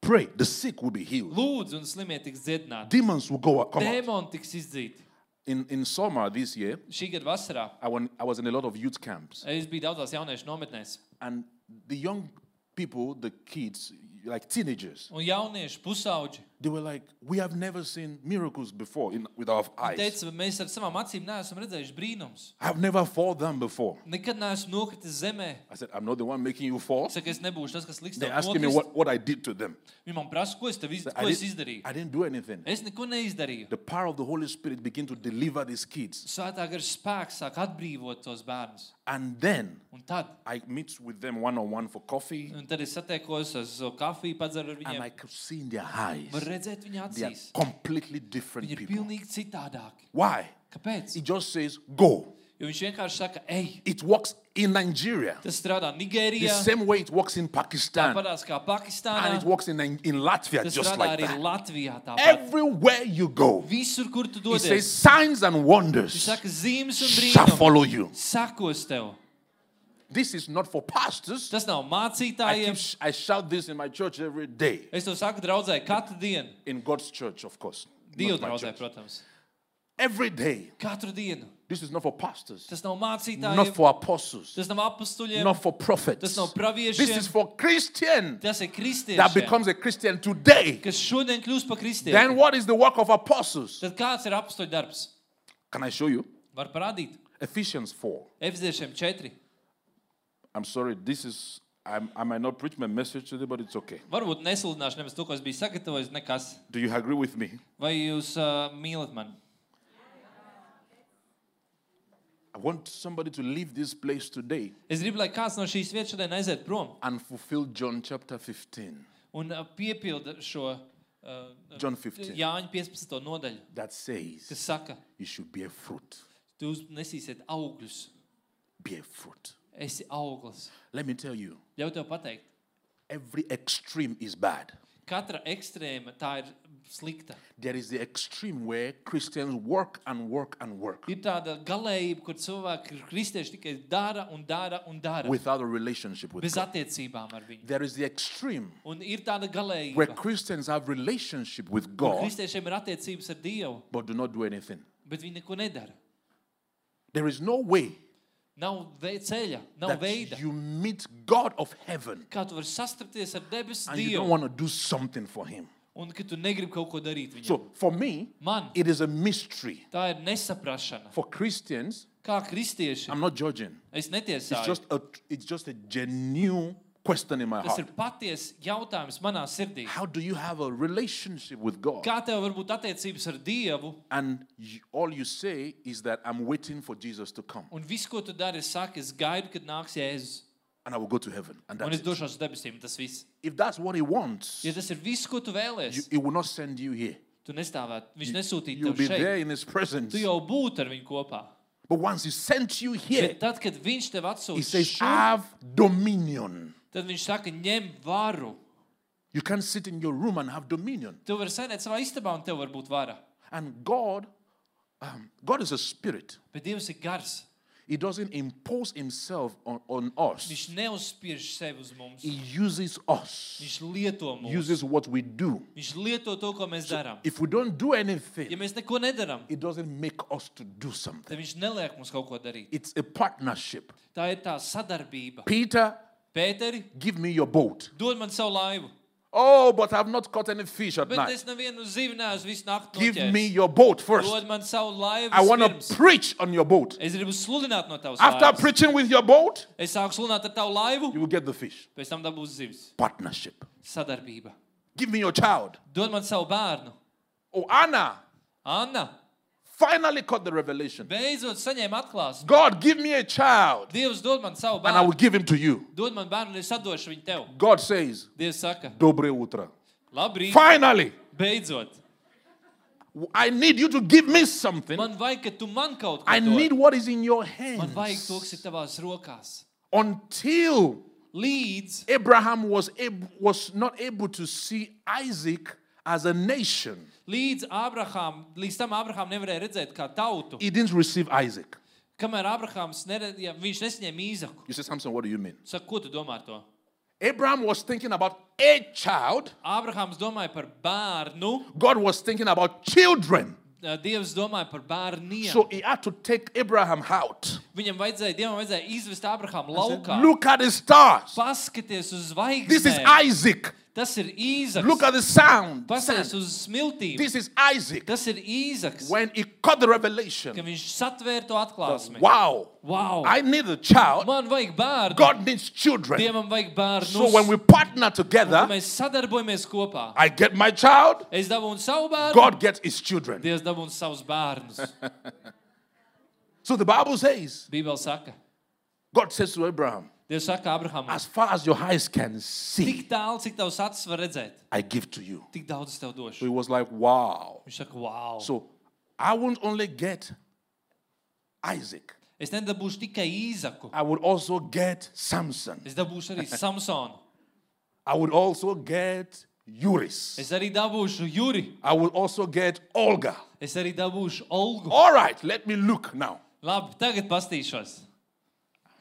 S2: Pray. The sick will be healed.
S1: lūdzu, un slimie tiks dziedināti.
S2: Demons will go come out.
S1: Dēmoni tiks izdzīti.
S2: In, in summer this year,
S1: Šī gada vasarā
S2: I, went, I was in a lot of youth camps.
S1: es biju daudzās jauniešu nometnēs.
S2: And the young people, the kids, like teenagers,
S1: Un jaunieši, pusauģi,
S2: they were like, we have never seen miracles before in, with our eyes.
S1: teica, mēs ar savām acīm neesam redzējuši brīnums.
S2: I've never fought them before.
S1: Nekad neesmu nokritis zemē.
S2: I said, I'm not the one making you fall.
S1: Es saku, es nebūšu tas, kas liks
S2: They're
S1: tev
S2: asking me
S1: nokrist.
S2: what, what I did to them.
S1: Viņi man prasa, ko es, tev iz...
S2: I
S1: ko es
S2: didn't-
S1: izdarīju.
S2: I didn't do anything.
S1: Es neko neizdarīju.
S2: The power of the Holy Spirit began to deliver these kids.
S1: Svētā gara spēks sāk atbrīvot tos bērnus.
S2: And then
S1: Un tad,
S2: I meet with them one on one for coffee,
S1: un tad es satiekos ar so kafiju, padzeru ar
S2: and
S1: viņiem.
S2: I could see in their eyes
S1: Var redzēt viņa
S2: they are
S1: acīs.
S2: completely different
S1: Viņi ir
S2: people.
S1: pilnīgi citādāki.
S2: Why?
S1: Kāpēc?
S2: It just says go.
S1: Jo viņš vienkārši saka, ej,
S2: It works in Nigeria
S1: tas strādā
S2: the uh,
S1: Nigērijā,
S2: same way it works in Pakistan
S1: tāpat kā
S2: and
S1: Pakistānā.
S2: it works in in Latvia
S1: Tas
S2: just
S1: strādā
S2: like
S1: arī
S2: that.
S1: Latvijā. Tāpat.
S2: Everywhere you go,
S1: Visur, kur tu
S2: it says
S1: dodies,
S2: signs and
S1: viņš
S2: wonders
S1: saka, zīmes un
S2: shall
S1: brīnums.
S2: follow you.
S1: Sakos tev.
S2: This is not for pastors.
S1: Tas nav
S2: I, keep,
S1: mācītājiem.
S2: sh- I shout this in my church every day.
S1: Es to saku draudzē katru dienu.
S2: In God's church, of course.
S1: Dievu
S2: not my
S1: draudzē,
S2: church.
S1: protams.
S2: Every day.
S1: Katru dienu.
S2: This is not for pastors,
S1: Tas nav mācītājiem,
S2: not for apostles,
S1: tas nav apstuļiem,
S2: not for prophets.
S1: tas nav praviešiem.
S2: This is for Christian
S1: tas ir
S2: that
S1: kristiešiem,
S2: becomes a Christian today.
S1: kas šodien kļūst par
S2: Then
S1: kristiešiem.
S2: what is the work of apostles?
S1: Tad kāds ir apstuļu darbs?
S2: Can I show you?
S1: Var parādīt.
S2: Ephesians 4.
S1: Efeziešiem 4.
S2: I'm sorry, this is, I'm, I might not preach my message today, but it's okay.
S1: Varbūt nesludināšu nemaz to, ko es biju sagatavojis, nekas.
S2: Do you agree with me?
S1: Vai jūs uh, mīlat mani?
S2: I want somebody to leave this place today
S1: Es gribu, lai kāds no šīs vietas šodien aiziet prom
S2: and fulfill John chapter 15.
S1: un uh, piepilda šo uh,
S2: John 15.
S1: Jāņa 15. nodaļu,
S2: That says
S1: kas saka,
S2: you should bear fruit.
S1: jūs nesīsiet augļus.
S2: Bear fruit.
S1: Esi auglis.
S2: Let me tell you,
S1: Ļauj tev pateikt,
S2: every extreme is bad.
S1: katra ekstrēma tā ir slikta.
S2: There is the extreme where Christians work and work and work
S1: Ir tāda galējība, kur cilvēki, kristieši, tikai dara un dara un dara With...
S2: without a relationship with
S1: bez
S2: God.
S1: attiecībām ar viņu.
S2: There is the extreme
S1: Un ir tāda
S2: where
S1: galējība,
S2: Christians have relationship with
S1: kur
S2: God
S1: kristiešiem ir attiecības ar Dievu,
S2: but do not do anything.
S1: bet viņi neko nedara.
S2: There is no way
S1: Nav vei- ceļa, nav veida.
S2: that you meet God of heaven
S1: Kā tu vari sastapties ar debesu
S2: and you don't
S1: Dievu,
S2: want to do something for him.
S1: un ka tu negribi kaut ko darīt viņam?
S2: So for me,
S1: Man
S2: it is a mystery.
S1: tā ir nesaprašana.
S2: For Christians,
S1: Kā kristieši,
S2: I'm not judging.
S1: es
S2: It's
S1: netiesāju.
S2: just a it's just a genuine question in my
S1: Tas
S2: heart.
S1: ir patiesa jautājums manā sirdī.
S2: How do you have a relationship with God?
S1: Kā tev var būt attiecības ar Dievu,
S2: And you, all you say is that I'm waiting for Jesus to come
S1: un viss, ko tu dari, ir saka, es gaidu, kad nāks Jēzus,
S2: and I will go to heaven. And
S1: un
S2: that's
S1: es
S2: it.
S1: došos uz debesīm. Tas viss.
S2: if that's what he wants,
S1: Ja tas ir viss, ko tu
S2: you,
S1: vēlēsies,
S2: he will not send you here.
S1: tu nestāvētu, viņš nesūtītu
S2: You'll
S1: tev
S2: be
S1: šeit.
S2: there in his presence.
S1: Tu jau būtu ar viņu kopā.
S2: But once he sent you here,
S1: Bet tad, kad viņš tev
S2: he
S1: atsūta
S2: says, "Ah."
S1: šo,
S2: have dominion.
S1: tad viņš saka, ņem varu.
S2: You can't sit in your room and have dominion.
S1: Tu vari sēdēt savā istabā un tev var būt vara.
S2: And God, um, God is a spirit.
S1: Bet Dievs ir gars.
S2: He doesn't impose himself on, on us.
S1: Viņš neuzspiež sevi uz mums.
S2: He uses us,
S1: Viņš lieto mums.
S2: uses what we do.
S1: Viņš lieto to, ko mēs darām.
S2: If we don't do anything,
S1: Ja mēs neko nedarām,
S2: it doesn't make us to do something.
S1: tad viņš neliek mums kaut ko darīt.
S2: It's a partnership.
S1: Tā ir tā sadarbība.
S2: Peter,
S1: Pēteri,
S2: give me your boat.
S1: dod man savu laivu.
S2: Oh, but I've not caught any fish at
S1: Bet
S2: night.
S1: es nevienu zivināju visu nakti.
S2: Give me your boat first.
S1: Dod man savu laivu.
S2: I want
S1: pirms.
S2: to preach on your boat.
S1: Es gribu sludināt no tavas
S2: After
S1: laivas.
S2: preaching with your boat,
S1: Es sāku sludināt ar tavu laivu,
S2: you will get the fish.
S1: pēc tam dabūs zivs.
S2: Partnership.
S1: Sadarbība.
S2: Give me your child.
S1: Dod man savu bērnu.
S2: Oh, Anna
S1: Anna
S2: finally caught the revelation.
S1: beidzot saņēma atklāsmi.
S2: God, give me a child,
S1: Dievs dod man savu
S2: and I will
S1: bērnu.
S2: give him to you.
S1: Dod man bērnu, un es atdošu viņu tev.
S2: God says,
S1: Dievs saka,
S2: Dobre utra.
S1: labrīt,
S2: Finally,
S1: beidzot.
S2: I need you to give me something.
S1: Man vajag, ka tu man kaut ko
S2: I need
S1: dod.
S2: what is in your
S1: Man vajag to,
S2: hands.
S1: kas ir tavās rokās.
S2: Until
S1: Līdz
S2: Abraham was, ab- was not able to see Isaac as a nation,
S1: Līdz, Abraham, līdz tam Abraham nevarēja redzēt, kā tautu.
S2: he didn't receive Isaac.
S1: Kamēr Abrahams neredzīja, viņš nesaņēma īzaku.
S2: You say, Samson, what do you mean?
S1: Saka, ko tu domā ar to?
S2: Abraham was thinking about a child,
S1: Abrahams domāja par bērnu,
S2: God was thinking about children.
S1: eh, Dievs domāja par bērniem.
S2: So he had to take Abraham out.
S1: Viņam vajadzēja, Dievam vajadzēja izvest Abrahamu
S2: Said,
S1: laukā.
S2: Look at the stars.
S1: Paskaties uz
S2: This is
S1: zvaigznēm.
S2: Isaac.
S1: Tas ir īzaks.
S2: Look at the sound.
S1: Paskaties
S2: Sand.
S1: uz smiltīm.
S2: This is Isaac.
S1: Tas ir īzaks.
S2: When he caught the
S1: Kad
S2: revelation,
S1: viņš satvēra to atklāsmi.
S2: wow,
S1: Wow.
S2: I need a child.
S1: Man vajag bērnu.
S2: God needs children.
S1: Dievam vajag
S2: So when
S1: bērnu.
S2: we partner together,
S1: Mēs sadarbojamies kopā.
S2: I get my child,
S1: Es dabūnu savu bērnu.
S2: God gets his children.
S1: Dievs dabūna savus bērnus.
S2: So the Bible says,
S1: Bībeli saka,
S2: God says to Abraham,
S1: Dievs saka, Abraham,
S2: as far as your eyes can see,
S1: tik tālu, cik tavs acis var redzēt,
S2: I give to you.
S1: tik daudz es tev
S2: So
S1: došu.
S2: he was like, wow.
S1: Viņš saka, wow.
S2: So I won't only get Isaac,
S1: Es nedabūšu tikai īzaku,
S2: I would also get Samson.
S1: es dabūšu arī Samsonu.
S2: I would also get Uris.
S1: Es arī dabūšu Juri,
S2: I would also get Olga.
S1: es arī dabūšu Olgu.
S2: All right, let me look now.
S1: Labi, tagad pastīšos.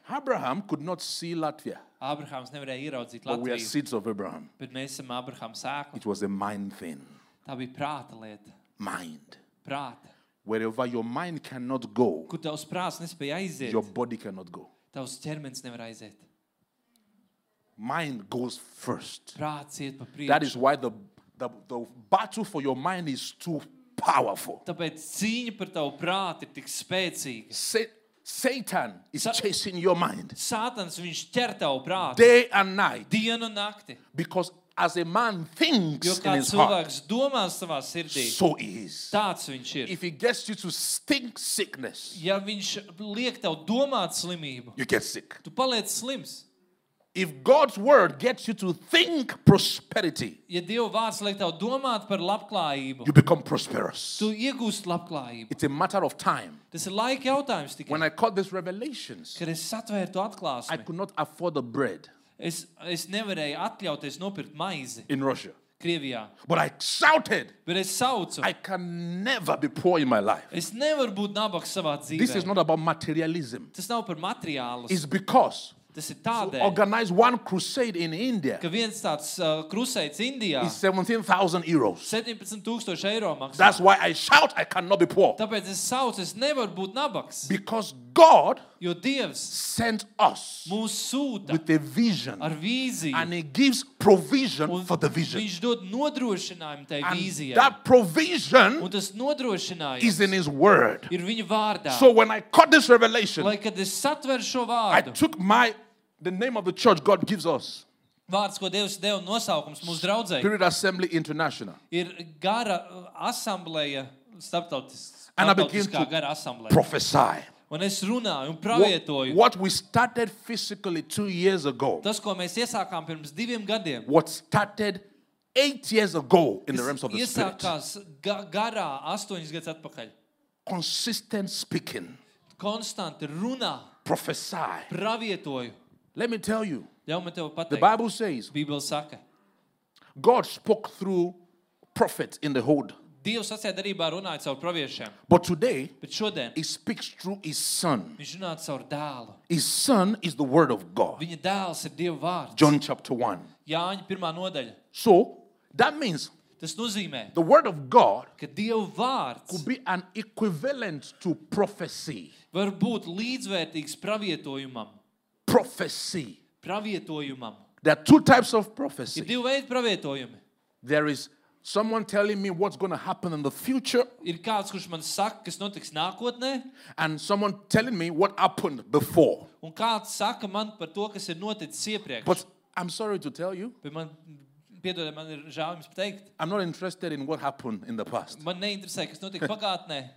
S2: Abraham could not see Latvia,
S1: Abrahams nevarēja ieraudzīt
S2: but we are
S1: Latviju,
S2: seeds of Abraham.
S1: bet mēs esam Abrahama sēkla.
S2: It was a mind thing.
S1: Tā bija prāta lieta.
S2: Mind.
S1: Prāta.
S2: Wherever your mind cannot go,
S1: Kur tavs prāts nespēja aiziet,
S2: your body cannot go.
S1: tavs ķermenis nevar aiziet.
S2: Mind goes first.
S1: Prāts iet pa
S2: That
S1: priekšu.
S2: is why the, the, the battle for your mind is too powerful.
S1: Tāpēc cīņa par tavu prātu ir tik spēcīga.
S2: Sa- Satan is
S1: Sa-
S2: chasing your mind
S1: Sātans viņš ķer tavu prātu
S2: day and night
S1: dienu un nakti.
S2: because as a man
S1: Jo
S2: thinks in
S1: kā
S2: his heart,
S1: cilvēks domā savā sirdī,
S2: so he is.
S1: tāds viņš ir.
S2: If he gets you to think sickness,
S1: Ja viņš liek tev domāt slimību,
S2: you get sick.
S1: tu paliec slims.
S2: If God's word gets you to think prosperity,
S1: Ja Dieva vārds liek tev domāt par labklājību,
S2: you become prosperous.
S1: tu iegūsi labklājību.
S2: It's a matter of time.
S1: Tas ir laika jautājums tikai.
S2: When I caught these revelations,
S1: Kad es satvēru to
S2: I
S1: atklāsmi,
S2: could not afford the bread
S1: es, es nevarēju atļauties nopirkt maizi
S2: in Russia.
S1: Krievijā.
S2: But I shouted,
S1: Bet es saucu,
S2: I can never be poor in my life.
S1: es nevaru būt nabaks savā
S2: This is
S1: dzīvē.
S2: not about materialism.
S1: Tas nav par materiālu.
S2: It's because
S1: Tas ir
S2: to
S1: tādēļ,
S2: organize one crusade in India
S1: ka viens tāds uh, krusējs Indijā
S2: is 17,000 euros.
S1: 17,000 eiro maksā.
S2: That's why I shout, I cannot be poor.
S1: Tāpēc es saucu, es nevaru būt nabaks,
S2: Because God
S1: jo Dievs
S2: sent us
S1: mūs sūta
S2: with a vision
S1: ar vīziju.
S2: and He gives provision for the vision.
S1: viņš dod nodrošinājumu tai
S2: And
S1: vīzijai.
S2: that provision
S1: Un tas
S2: is
S1: nodrošinājums
S2: in His Word.
S1: ir viņa vārdā.
S2: So when I caught this revelation,
S1: Lai kad es satveru šo
S2: I
S1: vārdu,
S2: took my the name of the church God gives us,
S1: vārds, ko Dievs deva nosaukums mūsu draugai,
S2: Spirit Assembly International.
S1: ir gara uh, asambleja, starptautis-
S2: And I begin
S1: starptautiskā
S2: to
S1: gara asambleja.
S2: Prophesy.
S1: Un es runāju un
S2: What,
S1: pravietoju.
S2: what we started physically two years ago,
S1: Tas, ko mēs iesākām pirms diviem gadiem,
S2: what started eight years ago in the realms
S1: Tas
S2: of the spirit,
S1: iesākās ga garā, astoņus gadus atpakaļ.
S2: consistent speaking,
S1: Konstanti runā,
S2: prophesy.
S1: pravietoju.
S2: Let me tell you,
S1: Ļauj man tev
S2: the
S1: pateikt,
S2: Bible says
S1: Bībele saka,
S2: God spoke through prophets in the old,
S1: Dievs acīm darbībā runāja caur praviešiem,
S2: but today
S1: bet šodien
S2: He speaks through His Son.
S1: viņš runā caur dēlu.
S2: His Son is the Word of God.
S1: Viņa dēls ir Dieva vārds.
S2: John chapter 1.
S1: Jāņa pirmā nodaļa.
S2: So that means
S1: Tas nozīmē,
S2: the Word of God
S1: ka Dieva vārds
S2: could be an equivalent to prophecy.
S1: var būt līdzvērtīgs pravietojumam.
S2: Prophecy.
S1: pravietojumam.
S2: There are two types of
S1: Ir
S2: prophecy.
S1: divi veidi pravietojumi.
S2: There is someone telling me what's going to happen in the future,
S1: Ir kāds, kurš man saka, kas notiks nākotnē,
S2: and someone telling me what happened before.
S1: un kāds saka man par to, kas ir noticis iepriekš.
S2: But I'm sorry to tell you,
S1: Bet man, piedodiet, man ir žēl jums pateikt,
S2: I'm not interested in what happened in the past.
S1: man neinteresē, kas notika pagātnē,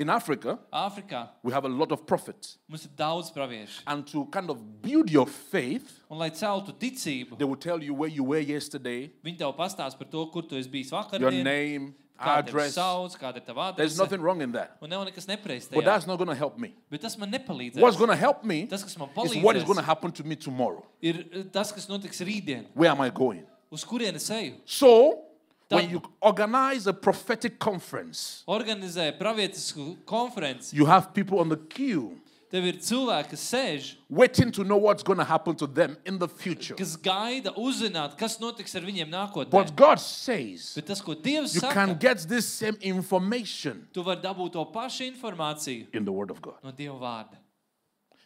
S2: In Africa,
S1: Āfrikā.
S2: we have a lot of prophets.
S1: Mums ir daudz praviešu.
S2: And to kind of build your faith,
S1: Un, lai celtu ticību,
S2: they will tell you where you were yesterday,
S1: viņi tev pastāsta par to, kur tu esi bijis vakar.
S2: your name,
S1: Kā tevi
S2: address.
S1: sauc, kāda ir tava
S2: There's
S1: adrese.
S2: nothing wrong in that.
S1: Un nav nekas nepareizs.
S2: But
S1: tajā.
S2: that's not going to help me.
S1: Bet tas man nepalīdzēs.
S2: What's going to help me
S1: Tas, kas man
S2: is what is going to
S1: palīdzēs,
S2: happen to me tomorrow.
S1: ir eh, tas, kas notiks rītdien.
S2: Where am I going?
S1: Uz kurienes eju?
S2: So, when
S1: Done.
S2: you organize a prophetic conference,
S1: Organizēju pravietisku konferenci.
S2: you have people on the queue
S1: Tev ir cilvēki, kas sēž,
S2: waiting to know what's going to happen to them in the future.
S1: kas gaida uzzināt, kas notiks ar viņiem nākotnē.
S2: But God says
S1: Bet tas, ko Dievs
S2: you
S1: saka,
S2: can get this same information
S1: tu vari dabūt to pašu informāciju
S2: in the Word of God.
S1: no Dieva vārda.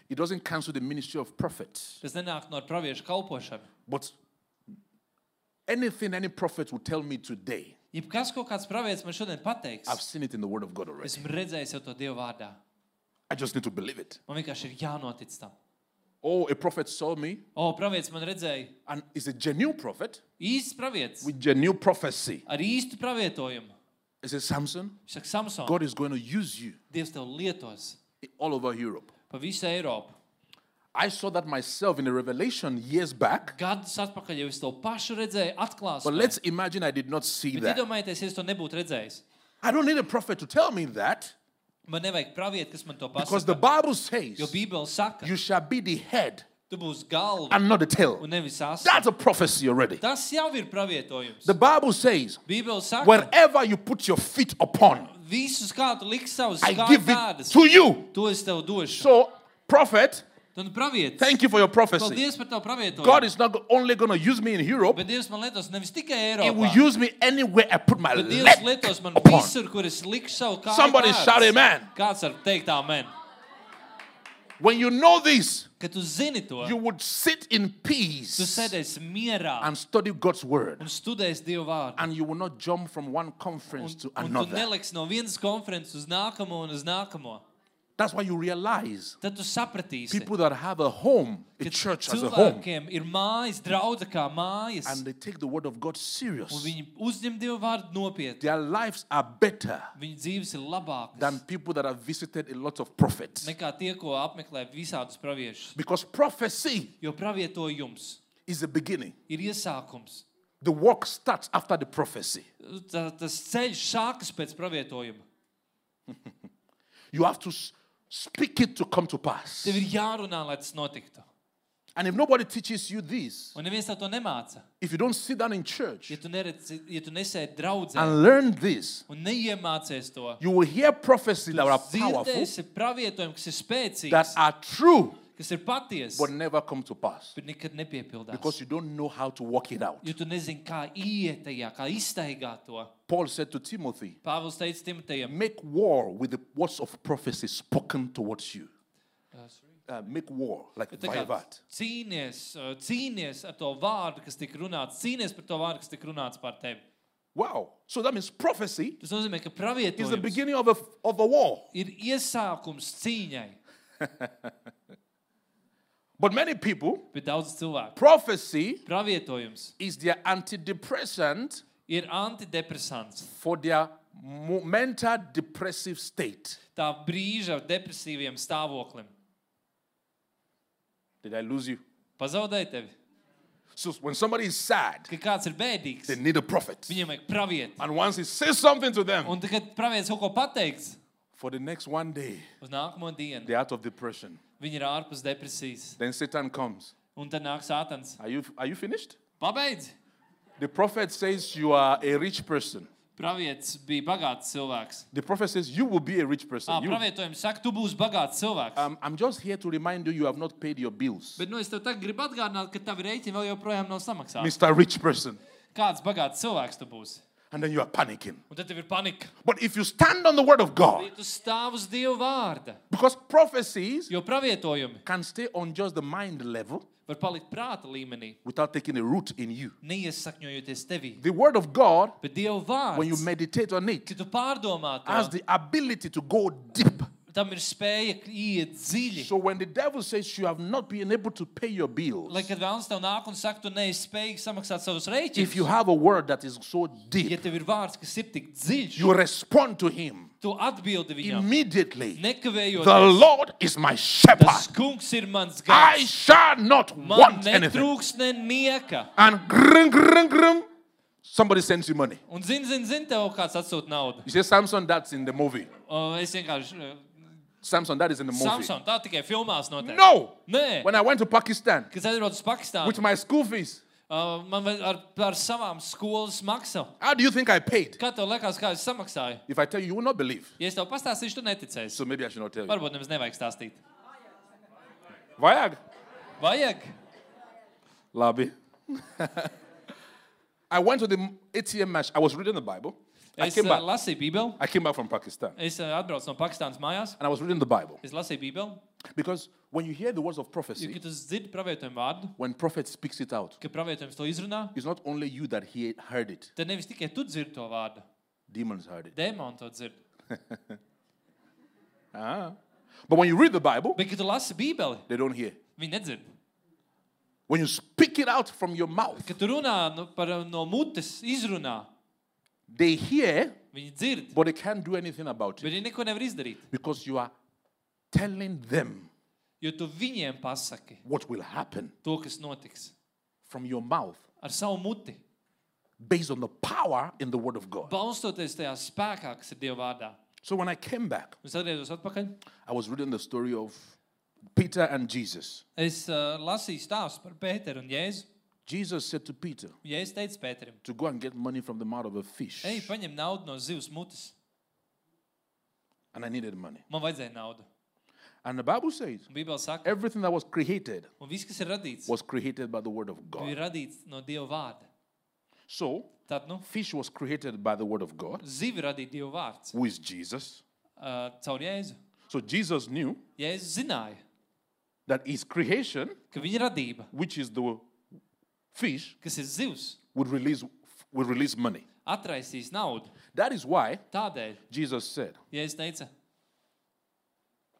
S2: It doesn't cancel the ministry of prophets,
S1: Tas nenāk no praviešu kalpošana.
S2: but anything any prophet will tell me today,
S1: Jebkas, ko kāds pravietis man šodien pateiks,
S2: I've seen it in the Word of God already.
S1: esmu redzējis jau to Dieva vārdā.
S2: I just need to believe it.
S1: Man vienkārši ir jānotic tam.
S2: Oh, a prophet saw me,
S1: O, pravietis man redzēja,
S2: and is a genuine prophet
S1: īsts pravietis
S2: with genuine prophecy.
S1: ar īstu pravietojumu.
S2: He says, Samson,
S1: Viņš saka, Samson,
S2: God is going to use you
S1: Dievs tev lietos
S2: all over Europe.
S1: pa visu Eiropu.
S2: I saw that myself in a revelation years back,
S1: Gadus atpakaļ jau es to pašu redzēju,
S2: but
S1: atklāsmē.
S2: let's imagine I did not see
S1: Bet
S2: that.
S1: iedomājieties, ja es to nebūtu redzējis.
S2: I don't need a prophet to tell me that
S1: Man nevajag praviet, kas man to
S2: because the
S1: pasaka. Jo
S2: Bible says
S1: Bībele saka,
S2: you shall be the head
S1: tu būsi galva
S2: and not the
S1: un
S2: tail.
S1: nevis asins.
S2: That's a prophecy already.
S1: Tas jau ir pravietojums.
S2: The Bible says
S1: Bībele saka,
S2: wherever you put your feet upon,
S1: visus kā tu liksi savus
S2: I give it
S1: kādas,
S2: to you.
S1: to es tev došu.
S2: So, prophet,
S1: Tad nu, praviet.
S2: thank you for your prophecy.
S1: Paldies par tavu
S2: God
S1: pravietojumu.
S2: is not only going to use me in Europe,
S1: Bet Dievs man lietos nevis tikai
S2: He will
S1: Eiropā.
S2: use me anywhere I put my
S1: Bet Dievs
S2: leg
S1: lietos man
S2: upon.
S1: visur, kur es likšu savu kādu.
S2: Somebody shout amen.
S1: Kāds var teikt amen?
S2: When you know this,
S1: Ka tu zini to,
S2: you would sit in
S1: tu
S2: peace
S1: sēdēsi mierā
S2: and study God's word,
S1: un studēsi Dievu vārdu.
S2: and you will not jump from one conference to
S1: Un, un tu
S2: another.
S1: neliksi no vienas konferences uz nākamo un uz nākamo.
S2: That's why you realize
S1: Tad tu sapratīsi,
S2: people that have a home, a
S1: ka
S2: church as a home,
S1: cilvēkiem ir mājas, draugs kā mājas,
S2: and they take the word of God
S1: un
S2: serious,
S1: viņi uzņem Dievu vārdu nopietni.
S2: their lives are better
S1: Viņu dzīves ir
S2: than
S1: labākas
S2: people that have visited a lot of prophets.
S1: nekā tie, ko apmeklē visādus praviešus.
S2: Because prophecy
S1: Jo pravietojums
S2: is the beginning.
S1: ir iesākums.
S2: The work starts after the prophecy.
S1: Tā, tas ceļš sākas pēc pravietojuma.
S2: You have to s- speak it to come to pass.
S1: Tev ir jārunā, lai tas notiktu.
S2: And if nobody teaches you this,
S1: Un neviens tev to nemāca.
S2: if you don't sit down in church
S1: Ja tu, neredzi, ja tu nesēdi draudzē
S2: and learn this,
S1: un neiemācies to,
S2: you will hear prophecies that are powerful,
S1: dzirdēsi pravietojumu, kas ir
S2: that
S1: spēcīgs,
S2: are true,
S1: kas ir patiesa,
S2: but never come to pass
S1: bet nekad nepiepildās.
S2: because you don't know how to work it out.
S1: Jo tu nezini, kā iet tajā, kā iztaigāt to.
S2: Paul said to Timothy,
S1: Pāvils teica Timotejam,
S2: Make war with the words of prophecy spoken towards you. Uh, make war, like
S1: "Tā kā
S2: Vivat.
S1: cīnies, uh, cīnies ar to vārdu, kas tika runāts, cīnies par to vārdu, kas tika runāts par tevi.
S2: Wow. So that means prophecy
S1: Tas nozīmē, ka
S2: is the
S1: pravietojums
S2: beginning of a, of a war.
S1: ir iesākums cīņai,
S2: But many people,
S1: bet daudz cilvēku.
S2: prophecy
S1: Pravietojums
S2: is their antidepressant
S1: ir antidepresants.
S2: for their mo- mental depressive state.
S1: Tā brīža ar depresīviem stāvoklim.
S2: Did I lose you?
S1: Pazaudēji tevi,
S2: So when somebody is sad,
S1: ka kāds ir
S2: they
S1: bēdīgs.
S2: need a prophet.
S1: Viņam vajag praviet.
S2: And once he says something to them,
S1: Un tad, kad pravietis kaut ko pateiks,
S2: for the next one day,
S1: uz nākamo dienu
S2: they're out of depression.
S1: viņi ir ārpus depresijas.
S2: Then Satan comes.
S1: Un tad nāk sātans.
S2: Are you, are you finished?
S1: Pabeidz!
S2: The prophet says you are a rich person.
S1: Pravietis bija bagāts cilvēks.
S2: The prophet says you will be a rich person.
S1: Tā
S2: You-
S1: pravietojums saka, tu būsi bagāts cilvēks.
S2: um, I'm just here to remind you you have not paid your bills.
S1: Bet nu, es tev tagad gribu atgādināt, ka tavi rēķini vēl joprojām nav samaksāti.
S2: Mr. Rich Person.
S1: Kāds bagāts cilvēks tu būsi?
S2: And then you are panicking.
S1: Un tad tev ir panika.
S2: But if you stand on the word of God,
S1: Ja tu stāv uz Dieva vārda,
S2: Because prophecies
S1: jo pravietojumi
S2: can stay on just the mind level,
S1: var palikt prāta līmenī,
S2: without taking a root in you.
S1: neiesakņojoties tevī.
S2: The Word of God,
S1: Bet Dieva
S2: when you
S1: vārds,
S2: meditate on it,
S1: kad tu pārdomā,
S2: has
S1: to,
S2: the ability to go deep.
S1: tam ir spēja iet dziļi.
S2: So when the devil says you have not been able to pay your bills,
S1: Lai kad vēlams tev nāk un saka, tu neesi spējīgs samaksāt savus
S2: if you
S1: rēķinus,
S2: have a word that is so
S1: ja
S2: deep,
S1: tev ir vārds, kas ir tik dziļš,
S2: you respond to him
S1: tu atbildi viņam
S2: immediately. The
S1: nekavējoties.
S2: Lord is my shepherd.
S1: Tas kungs ir mans
S2: I
S1: gars.
S2: shall not
S1: Man
S2: want anything.
S1: netrūks ne nieka.
S2: And grum, grum, grum, somebody sends you money.
S1: Un zini, zini, zin, tev kāds atsūta naudu.
S2: You say, Samson, that's in the movie.
S1: O, Es vienkārši. uh,
S2: Samson, that is in the movie.
S1: Samson, tā tikai filmās notiek.
S2: No!
S1: Nē,
S2: When I went to Pakistan
S1: kad aizbraucu uz
S2: with
S1: Pakistānu,
S2: my school fees,
S1: uh, man vēl ar, ar savām skolas maksām.
S2: how do you think I paid?
S1: Kā tev liekas, kā es samaksāju?
S2: If I tell you, you will not believe.
S1: Ja es tev pastāstīšu, tu neticēsi.
S2: So maybe I should not tell you.
S1: Varbūt nemaz nevajag stāstīt.
S2: Viag.
S1: Vajag.
S2: Labi. [LAUGHS] I went to the ATM match. I was reading the Bible. I
S1: Es
S2: came
S1: uh,
S2: back.
S1: lasīju Bībeli.
S2: I came back from Pakistan
S1: Es uh, atbraucu no Pakistānas mājās.
S2: and I was reading the Bible.
S1: Es lasīju Bībeli.
S2: Because when you hear the words of
S1: Jo,
S2: prophecy,
S1: Kad tu dzirdi pravietojumu vārdu,
S2: when prophet speaks it out,
S1: kad pravietojums to izrunā,
S2: it's not only you that hear, heard it,
S1: tad nevis tikai tu dzirdi to vārdu,
S2: demons heard it.
S1: demons to dzird.
S2: Ah. But when you read the Bible,
S1: Bet, kad tu lasi Bībeli,
S2: they don't hear.
S1: viņi nedzird.
S2: When you speak it out from your mouth,
S1: Kad tu runā nu, par, uh, no mutes, izrunā,
S2: they hear,
S1: viņi dzird.
S2: but they can't do anything about
S1: Bet
S2: it
S1: viņi neko nevar izdarīt.
S2: because you are telling them
S1: Jo tu viņiem pasaki
S2: what will happen
S1: to, kas notiks
S2: from your mouth
S1: ar savu muti,
S2: based on the power in the Word of God.
S1: balstoties tajā spēkā, kas ir Dieva vārdā.
S2: So when I came back,
S1: Un es atgriezos atpakaļ.
S2: I was reading the story of Peter and Jesus.
S1: Es uh, lasīju stāstu par Pēteru un Jēzu.
S2: Jesus said to Peter
S1: Jēzus teica Pēterim,
S2: to go and get money from the mouth of a fish.
S1: ej, paņem naudu no zivs mutes.
S2: And I needed money.
S1: Man vajadzēja naudu.
S2: And the Bible says
S1: Un Bībelē saka,
S2: everything that was created
S1: un viss, kas ir radīts,
S2: was created by the Word of God.
S1: ir radīts no Dieva vārda.
S2: So
S1: Tad, nu,
S2: fish was created by the Word of God,
S1: zivi radīja Dieva vārds
S2: who is Jesus.
S1: uh, caur Jēzu.
S2: So Jesus knew
S1: Jēzus zināja,
S2: that his creation,
S1: ka viņa radība,
S2: which is the fish,
S1: kas ir zivs,
S2: would release would release money.
S1: atraisīs naudu.
S2: That is why
S1: Tādēļ
S2: Jesus said,
S1: Jēzus teica,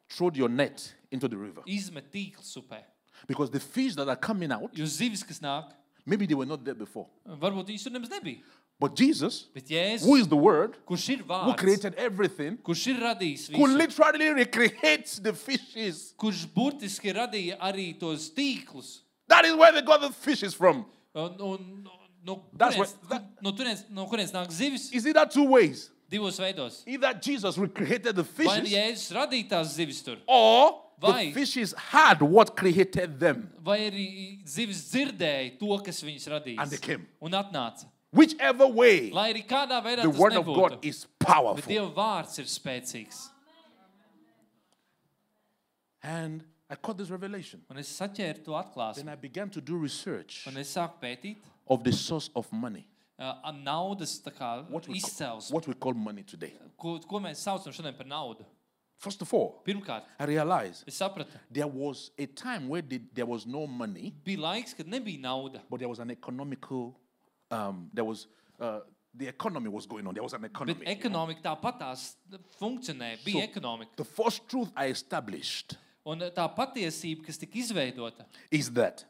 S2: "Throw your net into the river,"
S1: izmet tīklu upē.
S2: because the fish that are coming out,
S1: Jo zivis, kas nāk,
S2: maybe they were not there before.
S1: varbūt viņš tur nemaz nebija.
S2: But Jesus,
S1: Bet Jēzus,
S2: who is the Word,
S1: kurš ir
S2: who
S1: vārds,
S2: created everything,
S1: kurš ir radījis
S2: who
S1: visu,
S2: literally recreates the fishes.
S1: kurš burtiski radīja arī tos tīklus.
S2: That is where they got the fishes from.
S1: Un, un, no,
S2: That's
S1: kurienes,
S2: what- that-
S1: no, turienes, no kurienes nāk zivis?
S2: Is it that two ways?
S1: Divos veidos.
S2: Either Jesus recreated the
S1: Vai
S2: fishes,
S1: nu Jēzus radīja tās zivis tur,
S2: or the
S1: Why?
S2: fishes had what created them.
S1: vai arī zivis dzirdēja to, kas viņas radīja.
S2: And they came.
S1: Un atnāca.
S2: Whichever way,
S1: Lai arī kādā veidā
S2: the
S1: tas
S2: word of God
S1: nebūtu,
S2: is
S1: bet
S2: powerful.
S1: Dieva vārds ir spēcīgs.
S2: And I caught this revelation.
S1: Un es saķēru to atklāsmi.
S2: Then I began to do research
S1: Un es sāku pētīt
S2: of the source of money,
S1: uh, naudas tā kā
S2: what we, ca-
S1: izcelsmi,
S2: what we call money today.
S1: ko, ko mēs saucam šodien par naudu.
S2: First of all,
S1: Pirmkārt,
S2: I realized
S1: es sapratu,
S2: there was a time where the- there was no money,
S1: bija laiks, kad nebija nauda.
S2: but there was an economical, um, there was, uh, the economy was going on. There was an
S1: Bet
S2: economy.
S1: ekonomika tāpat tās funkcionēja, bija
S2: So-
S1: ekonomika.
S2: The first truth I established
S1: Un uh, tā patiesība, kas tika izveidota,
S2: is that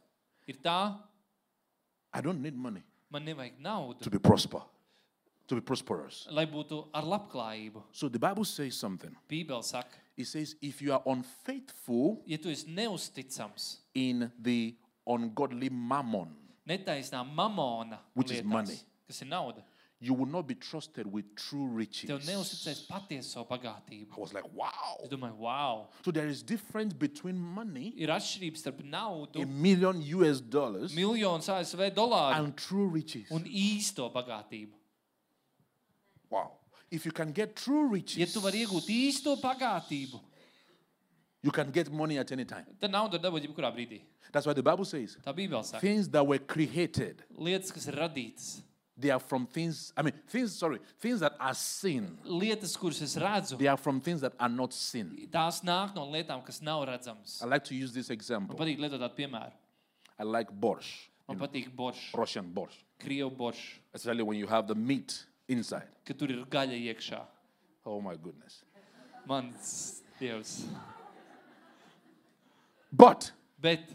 S1: ir tā,
S2: I don't need money
S1: man nevajag naudu,
S2: to be prosper, to be prosperous.
S1: lai būtu ar labklājību.
S2: So the Bible says something.
S1: Bībeli saka,
S2: It says, if you are unfaithful
S1: ja tu esi neusticams,
S2: in the ungodly mammon,
S1: netaisnā mamona,
S2: Which is money.
S1: kas ir nauda,
S2: you will not be trusted with true riches.
S1: tev neusticēs patieso bagātību.
S2: I was like, wow.
S1: Es domāju, wow,
S2: So there is difference between money,
S1: ir atšķirība starp naudu,
S2: a million US dollars,
S1: miljonus ASV dolāru
S2: and true riches.
S1: un īsto bagātību.
S2: Wow. If you can get true
S1: Ja
S2: riches,
S1: tu vari iegūt īsto bagātību,
S2: you can get money at any time.
S1: tad naudu var dabūt jebkurā brīdī.
S2: That's why the Bible says
S1: Tā Bībelē saka,
S2: things that were created,
S1: lietas, kas ir radītas,
S2: they are from things, I mean, things, sorry, things that are seen,
S1: lietas, kuras es redzu,
S2: they are from things that are not seen.
S1: tās nāk no lietām, kas nav redzamas.
S2: I like to use this example.
S1: Man patīk lietot tādu piemēru.
S2: I like borsch,
S1: Man patīk boršs,
S2: Russian borsch,
S1: krievu boršs,
S2: especially when you have the meat inside.
S1: ka tur ir gaļa iekšā.
S2: Oh my goodness.
S1: Mans dievs.
S2: But
S1: Bet,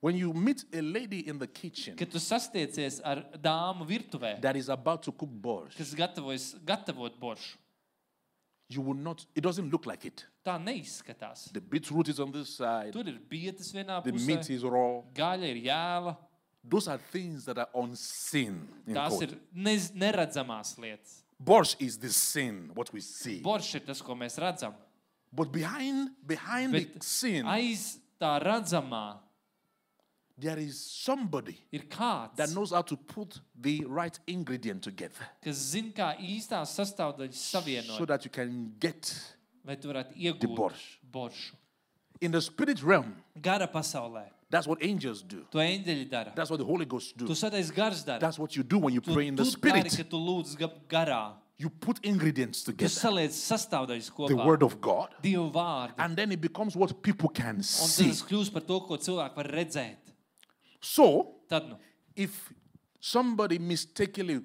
S2: when you meet a lady in the kitchen
S1: kad tu sastiecies ar dāmu virtuvē,
S2: that is about to cook borsch,
S1: kas gatavojas gatavot boršu,
S2: you will not, it doesn't look like it.
S1: tā neizskatās.
S2: The beetroot is on this side,
S1: Tur ir bietas vienā
S2: the meat
S1: pusē,
S2: is raw.
S1: gaļa ir jēla.
S2: Those are things that are unseen. in
S1: Tās
S2: code.
S1: ir nez, neredzamās lietas.
S2: Borsch is the sin, what we see.
S1: Boršs ir tas, ko mēs redzam.
S2: But behind behind
S1: Bet
S2: the sin,
S1: aiz tā redzamā
S2: there is somebody
S1: ir
S2: that
S1: kāds,
S2: knows how to put the right ingredient together
S1: kas zina, kā īstās sastāvdaļas
S2: so
S1: savienot,
S2: that you can get
S1: lai tu varētu iegūt
S2: borš.
S1: boršu.
S2: in the spirit realm.
S1: Gara pasaulē.
S2: That's what angels do.
S1: To eņģeļi dara.
S2: That's what the Holy Ghost do.
S1: Tu sadēļ gars dara.
S2: That's what you do when you
S1: Tu,
S2: pray in the
S1: tu dari,
S2: spirit.
S1: ka tu lūdz ga- garā.
S2: You put ingredients
S1: Tu
S2: together.
S1: saliec sastāvdaļas
S2: The
S1: kopā.
S2: word of God.
S1: Divu vārdu.
S2: And then it becomes what people can
S1: Un
S2: see.
S1: tas kļūst par to, ko cilvēki var redzēt.
S2: So
S1: Tad, nu,
S2: if somebody mistakenly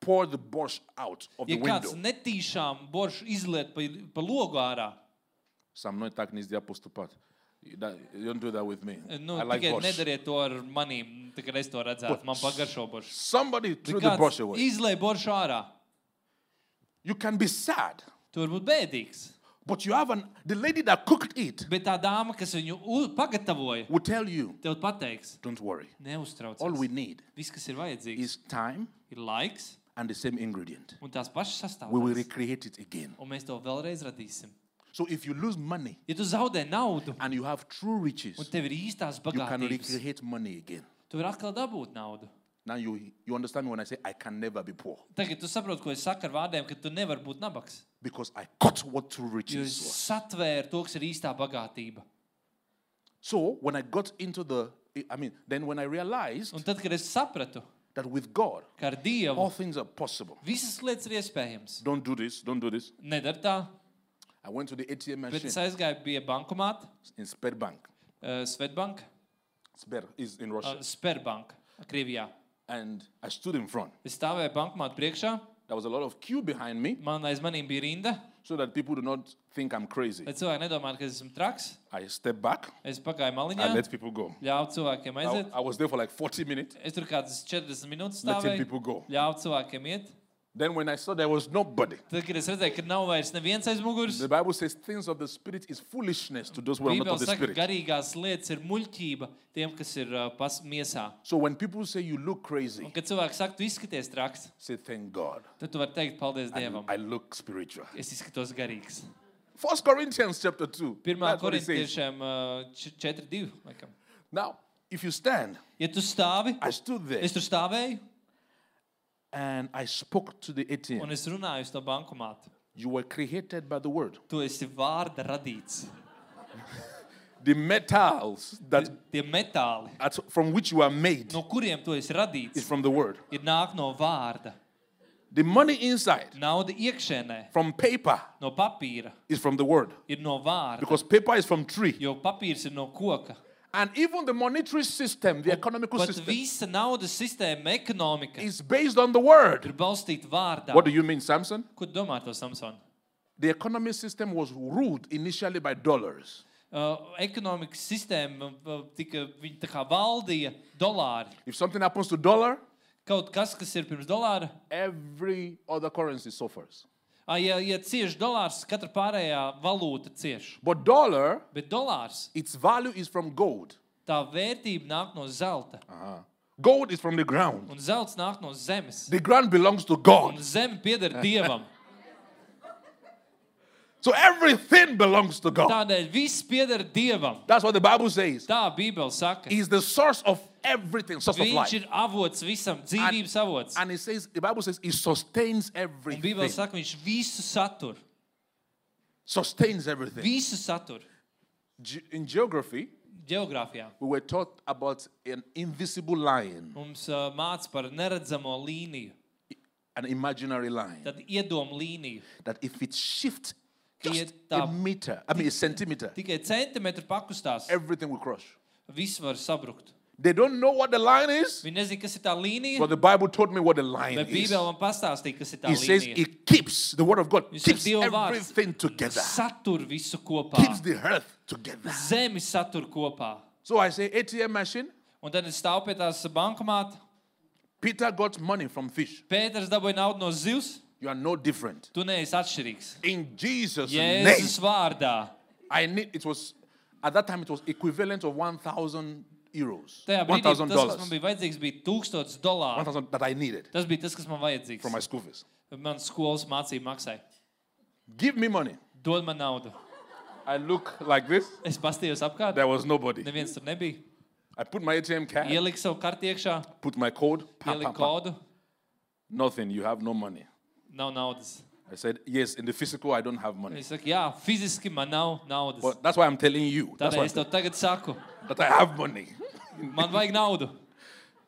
S2: poured the borsch out of
S1: ja
S2: the
S1: kāds
S2: window,
S1: netīšām boršu izliet pa, pa logu ārā,
S2: Sam no attack needs the apostle part. You that- you don't do that with me.
S1: nu,
S2: I like
S1: tikai
S2: borsch.
S1: nedariet to ar manīm. Tā kā es to redzētu, man pagaršo boršu.
S2: Somebody
S1: Bet
S2: threw the
S1: kāds
S2: brush away.
S1: Izlej boršu ārā.
S2: You can be sad,
S1: Tu vari būt bēdīgs.
S2: but you have an the lady that cooked it
S1: Bet tā dāma, kas viņu u- pagatavoja,
S2: will tell you,
S1: tev pateiks,
S2: don't worry. All we
S1: neuztraucies.
S2: need
S1: Viss, kas ir vajadzīgs,
S2: is time
S1: ir laiks
S2: and the same ingredient.
S1: un tās pašas
S2: We will
S1: sastāvdaļas.
S2: recreate it again.
S1: Un mēs to vēlreiz radīsim.
S2: So if you lose money
S1: Ja tu zaudē naudu
S2: and you have true
S1: un
S2: riches,
S1: tev ir īstās
S2: you can
S1: bagātības,
S2: recreate money again.
S1: tu vari atkal dabūt naudu.
S2: Now you you understand me when I say I can never be poor
S1: Tagad tu saproti, ko es saku ar vārdiem, ka tu nevari būt nabaks.
S2: because I caught what true
S1: Jo es
S2: riches was.
S1: satvēru to, kas ir īstā bagātība.
S2: So when I got into the I mean, then when I realized
S1: Un tad, kad es sapratu,
S2: that with God,
S1: ka ar Dievu
S2: all things are possible.
S1: visas lietas ir iespējamas,
S2: Don't do this, don't do this.
S1: nedara tā,
S2: I went to the ATM
S1: bet
S2: machine
S1: es aizgāju pie bankomāta,
S2: in Sberbank.
S1: uh, Svetbanka,
S2: Sber is in Russia.
S1: uh, Sperbanka, Krievijā.
S2: and I stood in front.
S1: Es stāvēju bankomāta priekšā,
S2: There was a lot of queue behind me
S1: man aiz manīm bija rinda,
S2: so that people do not think I'm crazy.
S1: lai cilvēki nedomātu, ka es esmu traks.
S2: I stepped back.
S1: Es pagāju
S2: I
S1: maliņā,
S2: let people go.
S1: ļāvu cilvēkiem
S2: I,
S1: aiziet.
S2: I was there for like 40 minutes,
S1: Es tur kādas 40 minūtes
S2: letting
S1: stāvēju,
S2: people go.
S1: ļāvu cilvēkiem iet.
S2: Then when I saw there was nobody,
S1: Tad, kad es redzēju, ka nav vairs neviens aiz muguras,
S2: the Bible says things of the spirit is foolishness to those who are not
S1: Bībelē
S2: of the
S1: saka, ka
S2: spirit.
S1: garīgās lietas ir muļķība tiem, kas ir uh, pas- miesā.
S2: So when people say you look
S1: Un,
S2: crazy,
S1: kad cilvēks saka, tu izskaties traks,
S2: say thank God.
S1: tad tu vari teikt, paldies
S2: I,
S1: Dievam.
S2: I look spiritual.
S1: Es izskatos garīgs.
S2: First Corinthians chapter 2.
S1: 1.
S2: That's what it says.
S1: korintiešiem uh, č- 4.2. laikam.
S2: Now, if you stand,
S1: Ja tu stāvi,
S2: I stood there
S1: es tur stāvēju
S2: and I spoke to the
S1: un
S2: ATM.
S1: es runāju uz to bankomātu.
S2: You were created by the word.
S1: Tu esi vārda radīts.
S2: The metals that
S1: Tie metāli,
S2: at, from which you are made
S1: no kuriem tu esi
S2: is
S1: radīts,
S2: from the word.
S1: ir nāk no vārda.
S2: The money inside
S1: Nauda iekšēnē,
S2: from paper
S1: no papīra,
S2: is from the word
S1: ir no vārda.
S2: because paper is from tree.
S1: Jo papīrs ir no koka.
S2: And even the monetary system, the economical
S1: Pat
S2: system,
S1: visa naudas sistēma, ekonomika
S2: is based on the
S1: ir
S2: word.
S1: balstīta vārdā.
S2: What do you mean, Samson?
S1: Ko tu domā par to, Samson?
S2: The economy system was ruled initially by dollars.
S1: Uh, ekonomikas sistēma uh, tika, viņa tā kā valdīja dolāri.
S2: If something happens to dollar,
S1: Kaut kas, kas ir pirms dolāra,
S2: every other currency suffers.
S1: ah, ja, ja cieš dolārs, katra pārējā valūta cieš.
S2: But dollar,
S1: Bet dolārs,
S2: its value is from gold.
S1: tā vērtība nāk no zelta,
S2: Uh-huh. Gold is from the ground.
S1: un zelts nāk no zemes.
S2: The ground belongs to
S1: Un
S2: God.
S1: zeme
S2: Eh.
S1: pieder
S2: [LAUGHS]
S1: dievam.
S2: So everything belongs to God.
S1: Tādēļ viss pieder dievam.
S2: That's what the Bible says.
S1: Tā Bībele saka.
S2: Is the source of everything, source of
S1: Viņš
S2: life.
S1: ir avots visam, dzīvības avots.
S2: And it says, the Bible says, it sustains
S1: Un Bībelē
S2: everything.
S1: saka, viņš visu satur.
S2: Sustains everything.
S1: Visu satur.
S2: Ge- In geography,
S1: Geogrāfijā
S2: we were taught about an invisible line,
S1: mums uh, māca par neredzamo līniju,
S2: an imaginary line,
S1: tad iedomu līniju.
S2: that if it shifts
S1: Tie
S2: just a
S1: tā-
S2: meter, I mean a centimeter,
S1: Tikai centimetru pakustās,
S2: everything will crush.
S1: viss var sabrukt.
S2: They don't know what the line is,
S1: Viņi nezina, kas ir tā līnija,
S2: but the Bible told me what the line
S1: bet
S2: is.
S1: Bībelē man pastāstīja, kas ir tā
S2: It says
S1: līnija.
S2: it keeps the word of God
S1: Viņš
S2: keeps
S1: ir Dieva vārds.
S2: everything together,
S1: Satur visu kopā.
S2: keeps the earth together.
S1: Zemi satur kopā.
S2: So I say ATM machine.
S1: Un tad es stāvu pie tās bankomāta.
S2: Peter got money from fish.
S1: Pēters dabūja naudu no zivs.
S2: You are no different.
S1: Tu neesi atšķirīgs.
S2: In Jesus' name,
S1: Jēzus vārdā.
S2: I need. It was at that time. It was equivalent of one thousand euros,
S1: Tajā
S2: one
S1: brīdī tas,
S2: thousand
S1: kas man
S2: dollars,
S1: bija vajadzīgs, bija 1000
S2: one
S1: dolāru.
S2: thousand that I needed
S1: Tas bija tas, kas man vajadzīgs.
S2: for my school fees.
S1: Man skolas mācība maksāja.
S2: Give me money.
S1: Dod man naudu.
S2: I look like this.
S1: Es pastījos apkārt.
S2: There was nobody.
S1: Neviens tur nebija.
S2: I put my ATM card,
S1: Ieliku savu karti iekšā,
S2: put my code. pa, pa,
S1: ieliku
S2: pa.
S1: kodu.
S2: Nothing. You have no money.
S1: Nav naudas.
S2: I said yes. In the physical, I don't have money.
S1: Viņš saka, jā, fiziski man nav naudas.
S2: But that's why I'm telling you. That's
S1: Tādēļ
S2: why
S1: es tev tagad saku,
S2: that I have money.
S1: man vajag naudu.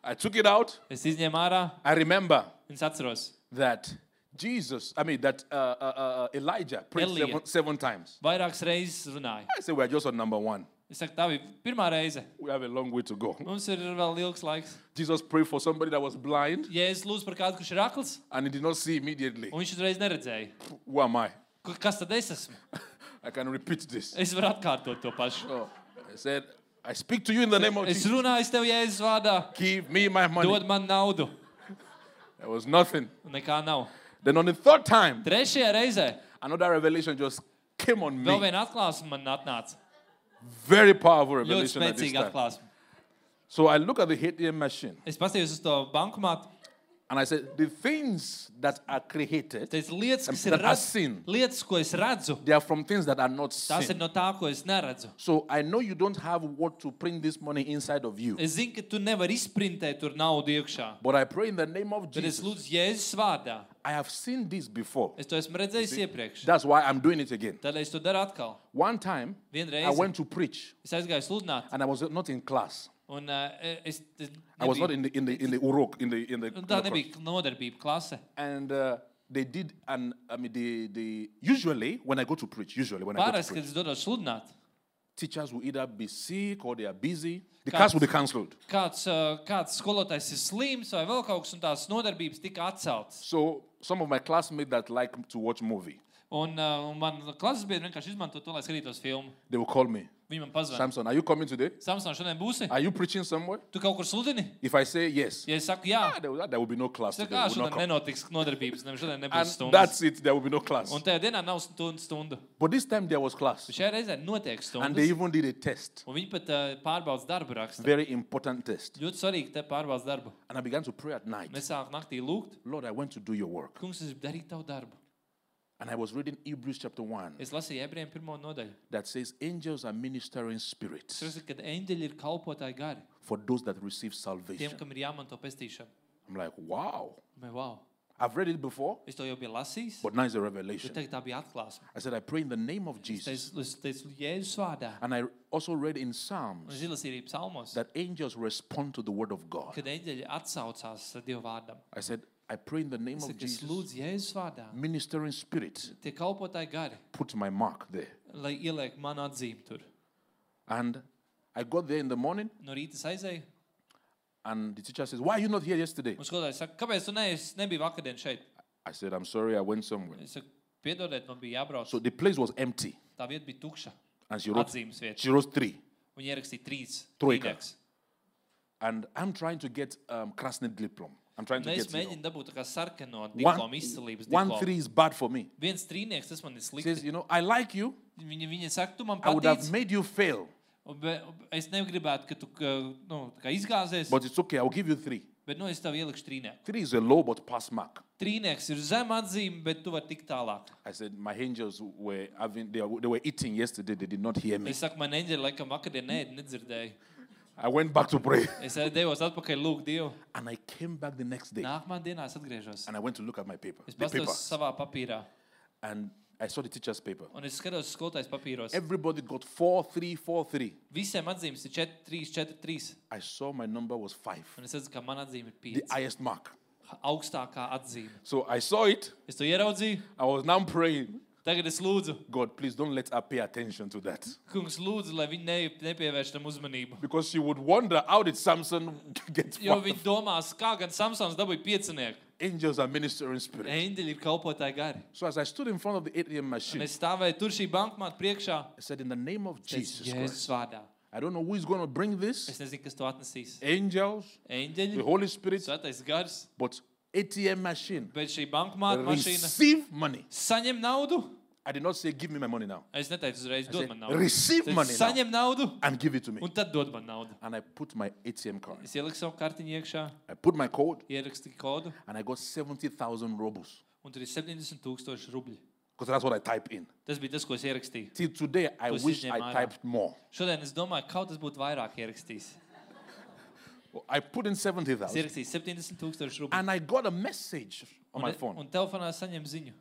S2: I took it out.
S1: Es izņēmu ārā,
S2: I remember
S1: viņš atceros.
S2: that Jesus, I mean, that uh, uh, uh, Elijah prayed
S1: Elijah.
S2: seven, seven times.
S1: Vairākas reizes runāju.
S2: I say we're just on number one.
S1: Es saku, tā bija pirmā reize.
S2: We have a long way to go. [LAUGHS]
S1: Mums ir vēl ilgs laiks.
S2: Jesus prayed for somebody that was blind
S1: Ja es lūdzu par kādu, kurš ir akls,
S2: and he did not see immediately.
S1: un viņš uzreiz neredzēja,
S2: Who am I?
S1: K- kas tad es esmu?
S2: I can repeat this.
S1: Es varu atkārtot to pašu.
S2: So I said, I speak to you in the name of
S1: Es
S2: Oh, Jesus.
S1: runāju tev Jēzus vārdā,
S2: Give me my money.
S1: dod man naudu.
S2: There was nothing.
S1: Un Nekā nav.
S2: Then on the third time,
S1: Trešajā reizē
S2: another revelation just came on
S1: vēl
S2: me.
S1: viena atklāsme man atnāca.
S2: Very powerful
S1: Ļoti
S2: revelation at this
S1: spēcīga
S2: time.
S1: atklāsme.
S2: So I look at the ATM machine
S1: Es paskatījos uz to bankomātu.
S2: and I said, the things that are created,
S1: Tas lietas, kas ir
S2: that are
S1: redz,
S2: seen,
S1: lietas, ko es redzu,
S2: they are from things that are not
S1: tās ir
S2: seen.
S1: no tā, ko es neredzu.
S2: So I know you don't have what to print this money inside of you.
S1: Es zinu, ka tu nevari izprintēt tur naudu iekšā.
S2: But I pray in the name of
S1: Bet es
S2: Jesus.
S1: lūdzu Jēzus vārdā.
S2: I have seen this before.
S1: Es to esmu redzējis iepriekš.
S2: That's why I'm doing it again.
S1: Tad es to daru atkal.
S2: One time, I
S1: Vienreiz
S2: went to preach
S1: es aizgāju sludināt,
S2: and I was not in class.
S1: un uh, es, es
S2: I was
S1: nebiju,
S2: not in the in the in the uruk in the in the. in
S1: tā
S2: the
S1: nebija nodarbība klase.
S2: and uh, they did and I mean the the usually when I go to preach usually when I go to
S1: Pārējais,
S2: preach,
S1: kad es dodos sludināt,
S2: teachers will either be sick or they are busy. The
S1: Cats.
S2: class will be cancelled.
S1: kāds, uh, kāds skolotājs ir slims vai vēl kaut kas, un tās nodarbības tika atceltas.
S2: So some of my classmates that like to watch movie,
S1: Un, uh, un man klases biedri vienkārši izmanto to, lai skatītos filmu.
S2: they will call me.
S1: Viņi man pazvanīja.
S2: Samson, are you coming today?
S1: Samson, šodien būsi?
S2: Are you preaching somewhere?
S1: Tu kaut kur sludini?
S2: If I say yes,
S1: Ja es saku, jā,
S2: ah, there, will, there will be no class
S1: tad
S2: today.
S1: kā
S2: I will not
S1: šodien
S2: come.
S1: nenotiks nodarbības, ne, šodien
S2: And
S1: nebūs stundas.
S2: that's it. There will be no class.
S1: Un tajā dienā nav stundu. stundu.
S2: But this time there was class,
S1: Šajā reizē notiek
S2: and they
S1: stundas.
S2: even did a test,
S1: Un viņi pat uh, pārbauda darbu rakstu.
S2: very important test.
S1: Ļoti svarīgi te pārbauda darbu.
S2: And I began to pray at night.
S1: Mēs sākām naktī lūgt,
S2: Lord, I went to do your work,
S1: kungs, es gribu darīt tavu darbu.
S2: and I was reading Hebrews chapter one.
S1: Es lasīju ebrejiem pirmo nodaļu.
S2: that says angels are ministering
S1: Es
S2: spirits
S1: redzu, ka eņģeļi ir kalpotāji gari
S2: for those that receive
S1: tiem,
S2: salvation.
S1: kam ir jāmanto pestīšana.
S2: I'm like, wow.
S1: Man, wow.
S2: I've read it before,
S1: Es to jau biju lasījis,
S2: but now it's a
S1: bet
S2: revelation.
S1: tagad tā bija atklāsme.
S2: I said, I pray in the name of
S1: Es
S2: Jesus.
S1: teicu- Es teicu, Jēzus vārdā.
S2: And I also read in
S1: Un
S2: Psalms
S1: zilas ir arī psalmos,
S2: that angels respond to the word of God.
S1: kad eņģeļi atsaucās Dieva vārdam.
S2: I said, I pray in the name
S1: Es
S2: of
S1: saku, es
S2: Jesus.
S1: lūdzu Jēzus vārdā.
S2: Ministering spirit,
S1: Tie kalpotāji gari,
S2: put my mark there.
S1: lai ieliek man atzīmi tur.
S2: And I got there in the morning,
S1: No rīta es aizēju.
S2: and the teacher says, Why are you not here yesterday?
S1: Un skolotājs saka, kāpēc tu neesi? Nebija vakardien šeit.
S2: I said, I'm sorry, I went somewhere.
S1: Es saku, piedodiet, man bija jābrauc.
S2: So the place was empty,
S1: Tā vieta bija tukša.
S2: and she wrote,
S1: Atzīmes vieta.
S2: she wrote three.
S1: Viņi ierakstīja trīs
S2: Trojka.
S1: trīnieks.
S2: and I'm trying to get um, Krasny diplom. I'm trying
S1: Un
S2: to
S1: Es
S2: get you know,
S1: mēģinu dabūt tā kā sarkano
S2: one,
S1: diplomu, izcilības
S2: one
S1: diplomu.
S2: three is bad for me.
S1: Viens trīnieks, tas man ir
S2: He
S1: slikti.
S2: says, you know, I like you.
S1: Viņa, viņa saka, tu man
S2: I would have
S1: patīc.
S2: made you fail,
S1: un be- un Es negribētu, ka tu ka, nu, tā kā izgāzies,
S2: but it's okay. I'll give you three.
S1: bet nu, es tev ielikšu trīnieku.
S2: Three is a low but pass mark.
S1: Trīnieks ir zem atzīme, bet tu vari tikt tālāk.
S2: I said, my angels were having they, were- they were eating yesterday. They did not hear me.
S1: Es saku, man eņģeli, laikam, vakarā nē, nedzirdēju.
S2: I went back to pray, [LAUGHS]
S1: Es devos atpakaļ, lūk, Dievu.
S2: and I came back the next day,
S1: Nākamā dienā es atgriežos.
S2: and I went to look at my paper,
S1: Es
S2: the paper,
S1: paskatos savā papīrā,
S2: and I saw the teacher's paper.
S1: un es skatos uz skolotājas papīros.
S2: Everybody got four, three, four, three.
S1: Visiem atzīmes ir 4, 3, 4, 3.
S2: I saw my number was five,
S1: Un es redzu, ka man atzīme ir
S2: the
S1: 5.
S2: highest mark.
S1: Augstākā atzīme.
S2: So I saw it.
S1: Es to ieraudzīju,
S2: I was now praying.
S1: Tagad es lūdzu,
S2: God, please don't let her pay attention to that.
S1: kungs, lūdzu, lai viņi ne, nepievērš tam uzmanību.
S2: Because she would wonder how did Samson [LAUGHS] get
S1: Jo
S2: one?
S1: viņi domās, kā gan Samsons dabūja piecinieku.
S2: Angels are ministering spirit.
S1: Eņģeļi ir kalpotāji gari.
S2: So as I stood in front of the ATM machine,
S1: Un
S2: I
S1: es stāvēju tur šī bankmāta priekšā.
S2: said, In the name of
S1: teicu,
S2: Jesus
S1: Jēzus
S2: Christ,
S1: vārdā.
S2: I don't know who is going to bring
S1: Es
S2: this.
S1: nezinu, kas to atnesīs.
S2: Angels, the
S1: Eņģeļi,
S2: Holy Spirit,
S1: Svētais gars,
S2: but ATM machine.
S1: bet šī bankmāta mašīna
S2: Receive money.
S1: saņem naudu.
S2: I did not say, Give me my money now.
S1: Es neteicu uzreiz,
S2: I
S1: dod
S2: said,
S1: man naudu.
S2: Receive
S1: Tad
S2: money now
S1: saņem naudu
S2: and give it to me.
S1: un tad dod man naudu.
S2: And I put my ATM card.
S1: Es ieliku savu kartiņu iekšā,
S2: I put my code
S1: ierakstīju kodu
S2: and I got 70,000 rubles
S1: un tur ir 70,000 rubļi.
S2: because that's what I type in.
S1: Tas bija tas, ko es ierakstīju.
S2: Till today, I
S1: Pussy
S2: wish
S1: in
S2: I
S1: my
S2: typed more.
S1: Šodien es domāju, kaut kas būtu vairāk ierakstījis.
S2: I put in
S1: Es
S2: 70,000
S1: ierakstīju 70,000 rubļu.
S2: and I got a message on my
S1: Un,
S2: phone
S1: un telefonā saņem ziņu,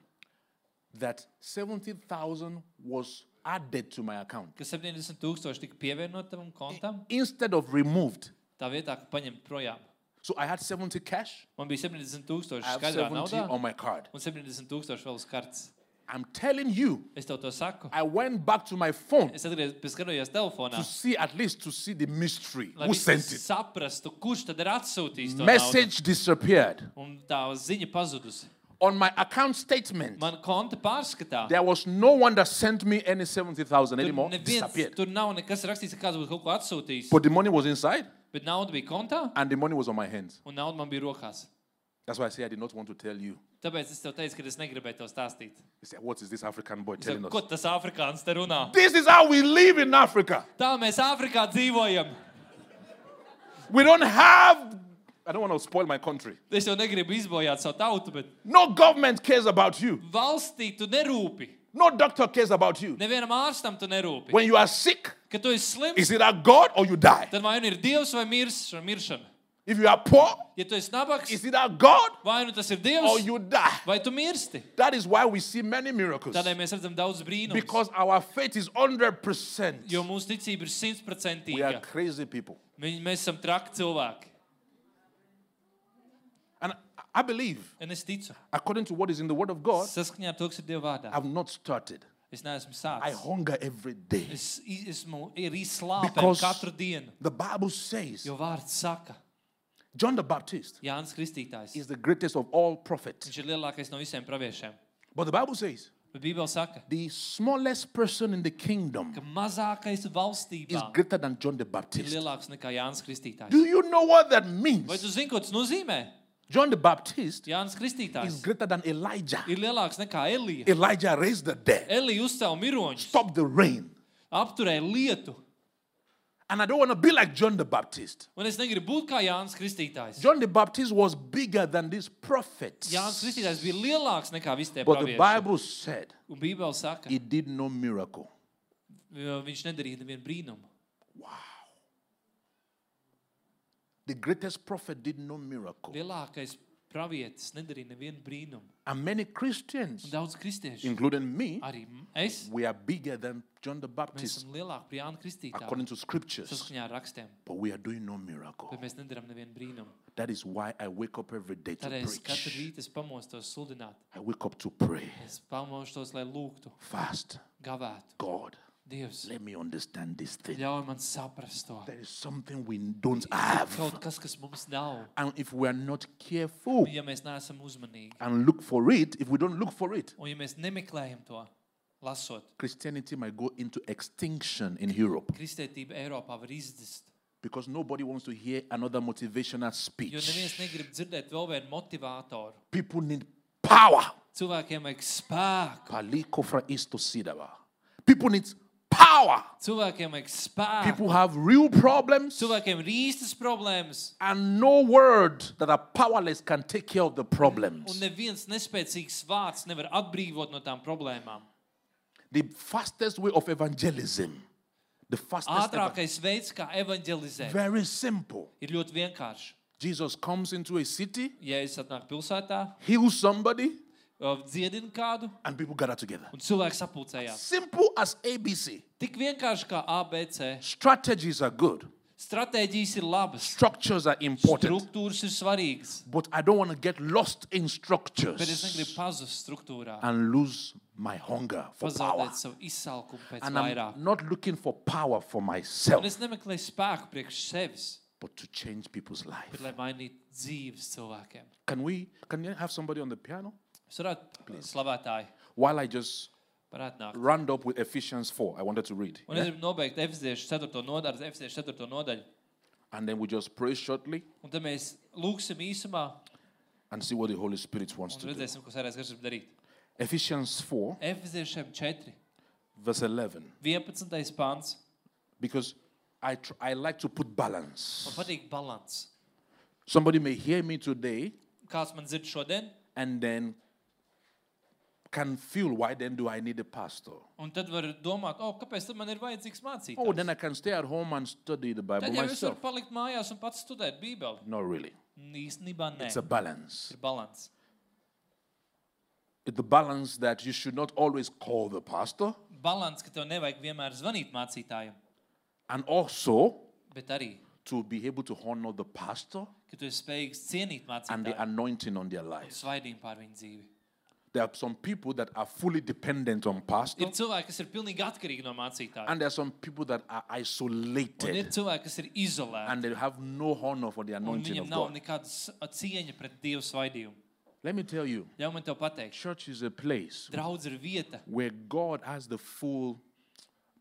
S2: that 70,000 was added to my account
S1: ka 70,000 tika pievienot tam kontam,
S2: instead of removed.
S1: tā vietā, ka paņemt projām.
S2: So I had 70 cash,
S1: Man bija 70,000
S2: I have
S1: skaidrā
S2: 70
S1: naudā
S2: on my card.
S1: un 70,000 vēl uz kartes.
S2: I'm telling you,
S1: Es tev to saku.
S2: I went back to my phone
S1: Es atgriezos telefonā.
S2: to see at least to see the mystery
S1: Lai
S2: who
S1: vismaz
S2: sent it.
S1: saprastu, kurš tad ir atsūtījis to naudu.
S2: Message disappeared.
S1: Un tā ziņa pazudusi.
S2: On my account statement,
S1: Man konta pārskatā.
S2: there was no one that sent me any 70,000
S1: Tur,
S2: anymore.
S1: neviens,
S2: Disappeared.
S1: tur nav nekas rakstīts, ka kāds būtu kaut ko atsūtījis.
S2: But the money was inside
S1: Bet nauda bija kontā
S2: and the money was on my hands.
S1: un nauda man bija rokās.
S2: That's why I say I did not want to tell you.
S1: Tāpēc es tev teicu, ka es negribēju tev stāstīt.
S2: He said, What is this African boy
S1: Es saku,
S2: telling us?
S1: Ko tas afrikānis te runā?
S2: This is how we live in Africa.
S1: Tā mēs Āfrikā dzīvojam.
S2: We don't have, I don't want to spoil my country.
S1: Es jau negribu izbojāt savu tautu, bet
S2: No government cares about you.
S1: valstī tu nerūpi.
S2: No doctor cares about you.
S1: Nevienam ārstam tu nerūpi.
S2: When you are sick,
S1: Kad tu esi slims,
S2: it's either God or you die.
S1: tad vai nu ir dievs vai mirs, miršana.
S2: If you are poor,
S1: Ja tu esi nabaks,
S2: it's either God
S1: vai nu tas ir
S2: or
S1: dievs,
S2: Oh, you die.
S1: vai tu mirsti.
S2: That is why we see many miracles.
S1: Tādēļ mēs redzam daudz brīnumu.
S2: Because our faith is 100%.
S1: Jo mūsu ticība ir
S2: We are
S1: simtprocentīga.
S2: crazy people.
S1: Mēs, mēs esam traki cilvēki.
S2: And I believe,
S1: Un es ticu,
S2: according to what is in the Word of God,
S1: saskaņā ar to, kas ir Dieva vārdā.
S2: I've not started.
S1: Es neesmu
S2: I
S1: sācis.
S2: hunger every day.
S1: Es i- esmu ir izslāpējis
S2: Because-
S1: katru dienu.
S2: The Bible says
S1: Jo vārds saka,
S2: John the Baptist
S1: Jānis Kristītājs.
S2: is the greatest of all prophets.
S1: Viņš ir lielākais no visiem praviešiem.
S2: But the Bible says
S1: Bet Bībele saka,
S2: the smallest person in the kingdom
S1: ka mazākais
S2: is
S1: valstībā
S2: greater than John the
S1: ir
S2: Baptist.
S1: lielāks nekā Jānis Kristītājs.
S2: Do you know what that
S1: Vai
S2: means?
S1: tu zini, ko tas nozīmē?
S2: John the Baptist
S1: Jānis
S2: is
S1: Kristītājs
S2: greater than Elijah.
S1: ir lielāks nekā Elija.
S2: Elijah raised the dead,
S1: Elija uzcēla miroņus,
S2: stopped the rain.
S1: apturēja lietu.
S2: And I don't want to be like John the Baptist.
S1: Un es negribu būt kā Jānis Kristītājs.
S2: John the Baptist was bigger than these prophets.
S1: Jānis Kristītājs bija lielāks nekā visi tie
S2: But the
S1: pravieši.
S2: Bible said
S1: Un Bībele saka,
S2: he did no miracle.
S1: jo viņš nedarīja nevienu brīnumu.
S2: The greatest prophet did no miracle.
S1: Lielākais pravietis nedarīja nevienu brīnumu.
S2: And many Christians,
S1: Un daudz kristiešu,
S2: including me,
S1: arī es,
S2: we are bigger than John the
S1: mēs
S2: Baptist
S1: esam lielāki par Jānu Kristītāju.
S2: according to scriptures.
S1: Saskaņā ar rakstiem.
S2: But we are doing no miracle.
S1: Bet mēs nedarām nevienu brīnumu.
S2: That is why I wake up every day to
S1: Tad es katru
S2: preach.
S1: rītu es pamostos sludināt.
S2: I wake up to pray.
S1: Es pamostos, lai lūgtu,
S2: Fast.
S1: gavētu.
S2: God,
S1: Dievs,
S2: let me understand this thing.
S1: ļauj man saprast to.
S2: There is something we don't have.
S1: Kaut kas, kas mums nav.
S2: And if we are not careful
S1: Un, Ja mēs neesam uzmanīgi,
S2: and look for it, if we don't look for it,
S1: un ja mēs nemeklējam to, lasot,
S2: Christianity might go into extinction in Europe
S1: kristietība Eiropā var izdzīst.
S2: because nobody wants to hear another motivational
S1: Jo neviens
S2: speech.
S1: negrib dzirdēt vēl vienu motivatoru.
S2: People need power.
S1: Cilvēkiem vajag spēku.
S2: Pali kofra isto sidaba. People need power.
S1: Cilvēkiem vajag spēku.
S2: People have real problems,
S1: Cilvēkiem ir īstas problēmas,
S2: and no word that are powerless can take care of the
S1: un
S2: problems.
S1: neviens nespēcīgs vārds nevar atbrīvot no tām problēmām.
S2: The fastest way of evangelism, the
S1: Ah,
S2: fastest, eva-
S1: Ātrākais veids, kā evanģelizēt,
S2: very simple.
S1: ir ļoti vienkārši.
S2: Jesus comes into a city,
S1: Ja es atnāku pilsētā,
S2: heals somebody,
S1: uh, dziedinu kādu,
S2: and people gather together.
S1: un cilvēks sapulcējās.
S2: Simple as ABC.
S1: Tik vienkārši kā ABC.
S2: Strategies are good,
S1: Stratēģijas ir labas,
S2: Structures are important,
S1: struktūras ir svarīgas,
S2: but I don't want to get lost in
S1: bet es
S2: structures
S1: negribu pazust struktūrā,
S2: and lose my hunger for power.
S1: pazaudēt savu izsalkumu pēc
S2: And
S1: vairāk.
S2: I'm not looking for power for
S1: Un
S2: myself,
S1: es nemeklēju spēku priekš sevis,
S2: but to change people's
S1: bet
S2: life.
S1: lai mainītu dzīves cilvēkiem.
S2: Can we? Can you have somebody on the piano
S1: Es varētu slavētāji,
S2: while I just
S1: varētu nākt.
S2: round up with Ephesians four? I wanted to read,
S1: Un es gribu nobeigt Efeziešu 4. nodaļu, ar Efeziešu 4. nodaļu.
S2: and then we just pray shortly
S1: Un tad mēs lūgsim īsumā
S2: and see what the Holy Spirit wants
S1: un
S2: to do.
S1: redzēsim, ko Sērais Gars grib darīt.
S2: Ephesians four,
S1: Efeziešiem 4.
S2: verse eleven.
S1: 11. pāns.
S2: because I, tr- I like to put balance.
S1: Man patīk balans.
S2: Somebody may hear me today
S1: Kāds man dzird šodien,
S2: and then can feel why then do I need a pastor?
S1: un tad var domāt, oh, kāpēc tad man ir vajadzīgs mācīt?
S2: Oh, then I can stay at home and study the Bible
S1: Tad jau es
S2: myself.
S1: varu palikt mājās un pats studēt Bībeli.
S2: Not really.
S1: Īstenībā nē,
S2: It's a balance.
S1: ir balans.
S2: It's the balance that you should not always call the pastor
S1: Balans, ka tev nevajag vienmēr zvanīt mācītājiem,
S2: and also
S1: bet arī,
S2: to be able to honor the pastor
S1: ka tu esi spējīgs cienīt
S2: and the
S1: mācītāju
S2: anointing on their
S1: un
S2: lives.
S1: svaidīt pār viņu dzīvi.
S2: There are some people that are fully dependent on pastor
S1: Ir cilvēki, kas ir pilnīgi atkarīgi no mācītāja.
S2: and there are some people that are
S1: Un ir
S2: isolated
S1: cilvēki, kas ir izolēti.
S2: and they have no honor for the
S1: Un
S2: anointing
S1: viņam
S2: of
S1: nav
S2: God.
S1: nekādas cieņa pret Dieva svaidījumu.
S2: Let me tell you,
S1: Ļauj man tev pateikt,
S2: church is a place
S1: draudz ir vieta,
S2: where God has the full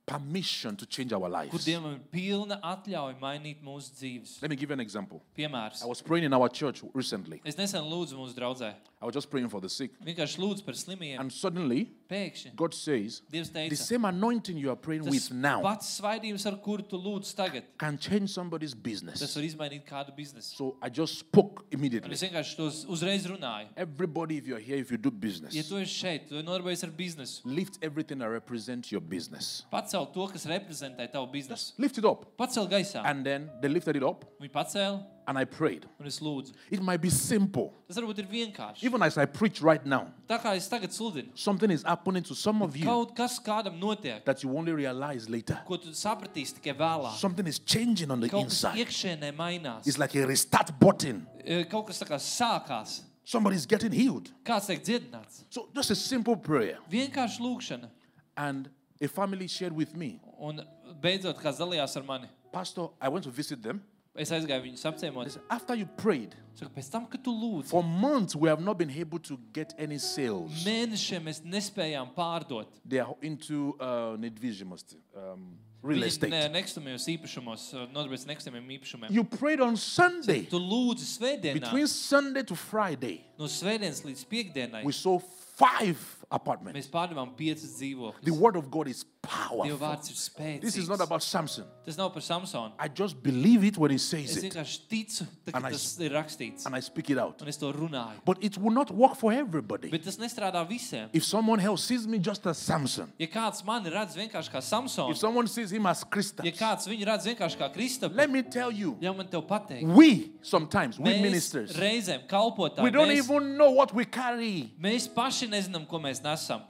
S2: permission to change our
S1: kur
S2: lives.
S1: Dievam ir pilna atļauja mainīt mūsu dzīves.
S2: Let me give you an example.
S1: Piemērs.
S2: I was praying in our church recently.
S1: Es nesen lūdzu mūsu draugzē.
S2: I was just praying for the sick.
S1: Vienkārši lūdzu par slimiem.
S2: And suddenly,
S1: Pēkšņi
S2: God says,
S1: Dievs
S2: the
S1: teica,
S2: same anointing you are praying
S1: tas
S2: with now
S1: pats svaidījums, ar kuru tu lūdz tagad,
S2: can change somebody's
S1: tas
S2: business.
S1: var izmainīt kādu biznesu.
S2: So I just spoke
S1: Un
S2: immediately.
S1: es vienkārši tos uzreiz runāju.
S2: Everybody, if you're here, if you do
S1: Ja
S2: business,
S1: tu esi šeit, tu nodarbojies ar biznesu.
S2: lift everything that represents your business.
S1: Pacel to, kas reprezentē tavu biznesu.
S2: Lift it up.
S1: Pacel gaisā.
S2: And then they lifted it up,
S1: Viņi pacēla
S2: and I prayed.
S1: un es lūdzu.
S2: It might be simple.
S1: Tas varbūt ir vienkārši.
S2: Even as I preach right now,
S1: Tā kā es tagad sludinu,
S2: something is happening to some of you
S1: kaut kas kādam notiek,
S2: that you only realize later.
S1: ko tu sapratīsi tikai vēlāk.
S2: Something is changing on the
S1: Kaut kas
S2: inside.
S1: iekšēnē mainās.
S2: It's like a restart button.
S1: E, Kaut kas tā kā sākās.
S2: Somebody's getting healed.
S1: Kāds tiek dziedināts?
S2: So just a simple prayer.
S1: Vienkārši lūkšana.
S2: And a family shared with me,
S1: Un beidzot, kāds dalījās ar mani.
S2: Pastor, I went to visit them.
S1: Es aizgāju viņus apciemot.
S2: They said, After you prayed,
S1: Saku, pēc tam, kad tu lūdzi,
S2: for months we have not been able to get any sales.
S1: mēnešiem mēs nespējām pārdot.
S2: They are into uh, nedvizimasti, um, real
S1: Viņi
S2: estate.
S1: ne- Nekustamajos īpašumos, eh, nodarbojas ar nekustamiem īpašumiem.
S2: You prayed on Sunday.
S1: Tu lūdzi svētdienā,
S2: Between Sunday to Friday,
S1: no svētdienas līdz piekdienai.
S2: we sold five apartments.
S1: Mēs pārdevām piecas dzīvokļus.
S2: The word of God is
S1: Dieva
S2: powerful.
S1: vārds ir
S2: This is not
S1: spēcīgs.
S2: about Samson.
S1: Tas nav par Samsonu.
S2: I just believe it when he says
S1: Es
S2: it
S1: vienkārši ticu, tā, ka
S2: And I
S1: tas ir rakstīts.
S2: and I speak it out.
S1: Un es to runāju.
S2: But it will not work for everybody.
S1: Bet tas nestrādā visiem.
S2: If someone else sees me just as Samson,
S1: Ja kāds mani redz vienkārši kā
S2: if
S1: Samsons,
S2: someone sees him as
S1: ja
S2: Christian,
S1: kāds viņu redz vienkārši kā Kristofers,
S2: let me tell you,
S1: jau man te pateikt,
S2: we sometimes, we
S1: mēs
S2: ministers,
S1: reizēm
S2: we
S1: kalpotāji,
S2: don't
S1: mēs,
S2: even know what we carry.
S1: mēs paši nezinām, ko mēs nesam.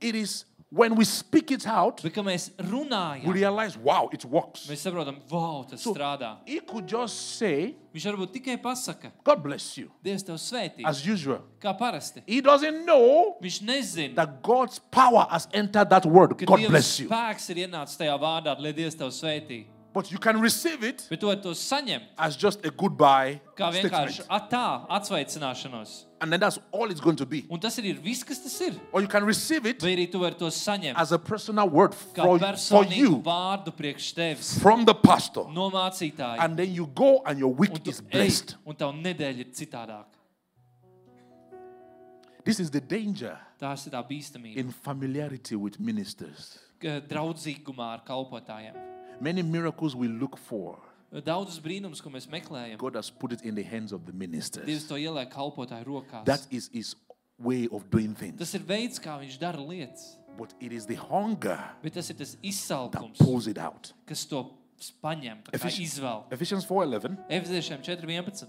S2: It is when we speak it out,
S1: Bet, kad mēs
S2: we
S1: runājam,
S2: realize, wow, it works.
S1: mēs saprotam, wow, tas
S2: So-
S1: strādā.
S2: He could just say,
S1: Viņš varbūt tikai pasaka,
S2: God bless you,
S1: Dievs tev svētī,
S2: as usual.
S1: kā parasti.
S2: He doesn't know
S1: Viņš nezina,
S2: that God's power has entered that word.
S1: ka
S2: God
S1: Dieva
S2: bless you.
S1: spēks ir ienācis tajā vārdā, lai Dievs tev svētī.
S2: But you can receive it
S1: Bet tu vari to saņemt
S2: as just a goodbye
S1: kā
S2: statement.
S1: vienkārši at- tā atsveicināšanos.
S2: And then that's all it's going to be.
S1: Un tas ir viss, kas tas ir.
S2: Or you can receive it
S1: Vai arī tu vari to saņemt.
S2: as a personal word
S1: kā
S2: for, for
S1: personīgu
S2: you
S1: vārdu priekš tevis,
S2: from the pastor.
S1: no mācītāja.
S2: And then you go and your
S1: Un
S2: week
S1: tu
S2: is
S1: ej,
S2: blessed.
S1: un tā nedēļa ir citādāka.
S2: This is the danger
S1: Tā ir tā bīstamība.
S2: in familiarity with ministers.
S1: ka Draudzīgumā ar kalpotājiem.
S2: Many miracles we look for,
S1: Daudzas brīnums, ko mēs meklējam,
S2: God has put it in the hands of the
S1: Dievs
S2: ministers.
S1: to ieliek kalpotāju rokās.
S2: That is his way of doing things.
S1: Tas ir veids, kā viņš dara lietas,
S2: But it is the hunger
S1: bet tas ir tas
S2: that
S1: izsalkums,
S2: pulls it out.
S1: kas to paņem, tā kā
S2: Efficient.
S1: izvēl.
S2: Ephesians 4:11.
S1: Efeziešiem 4.11.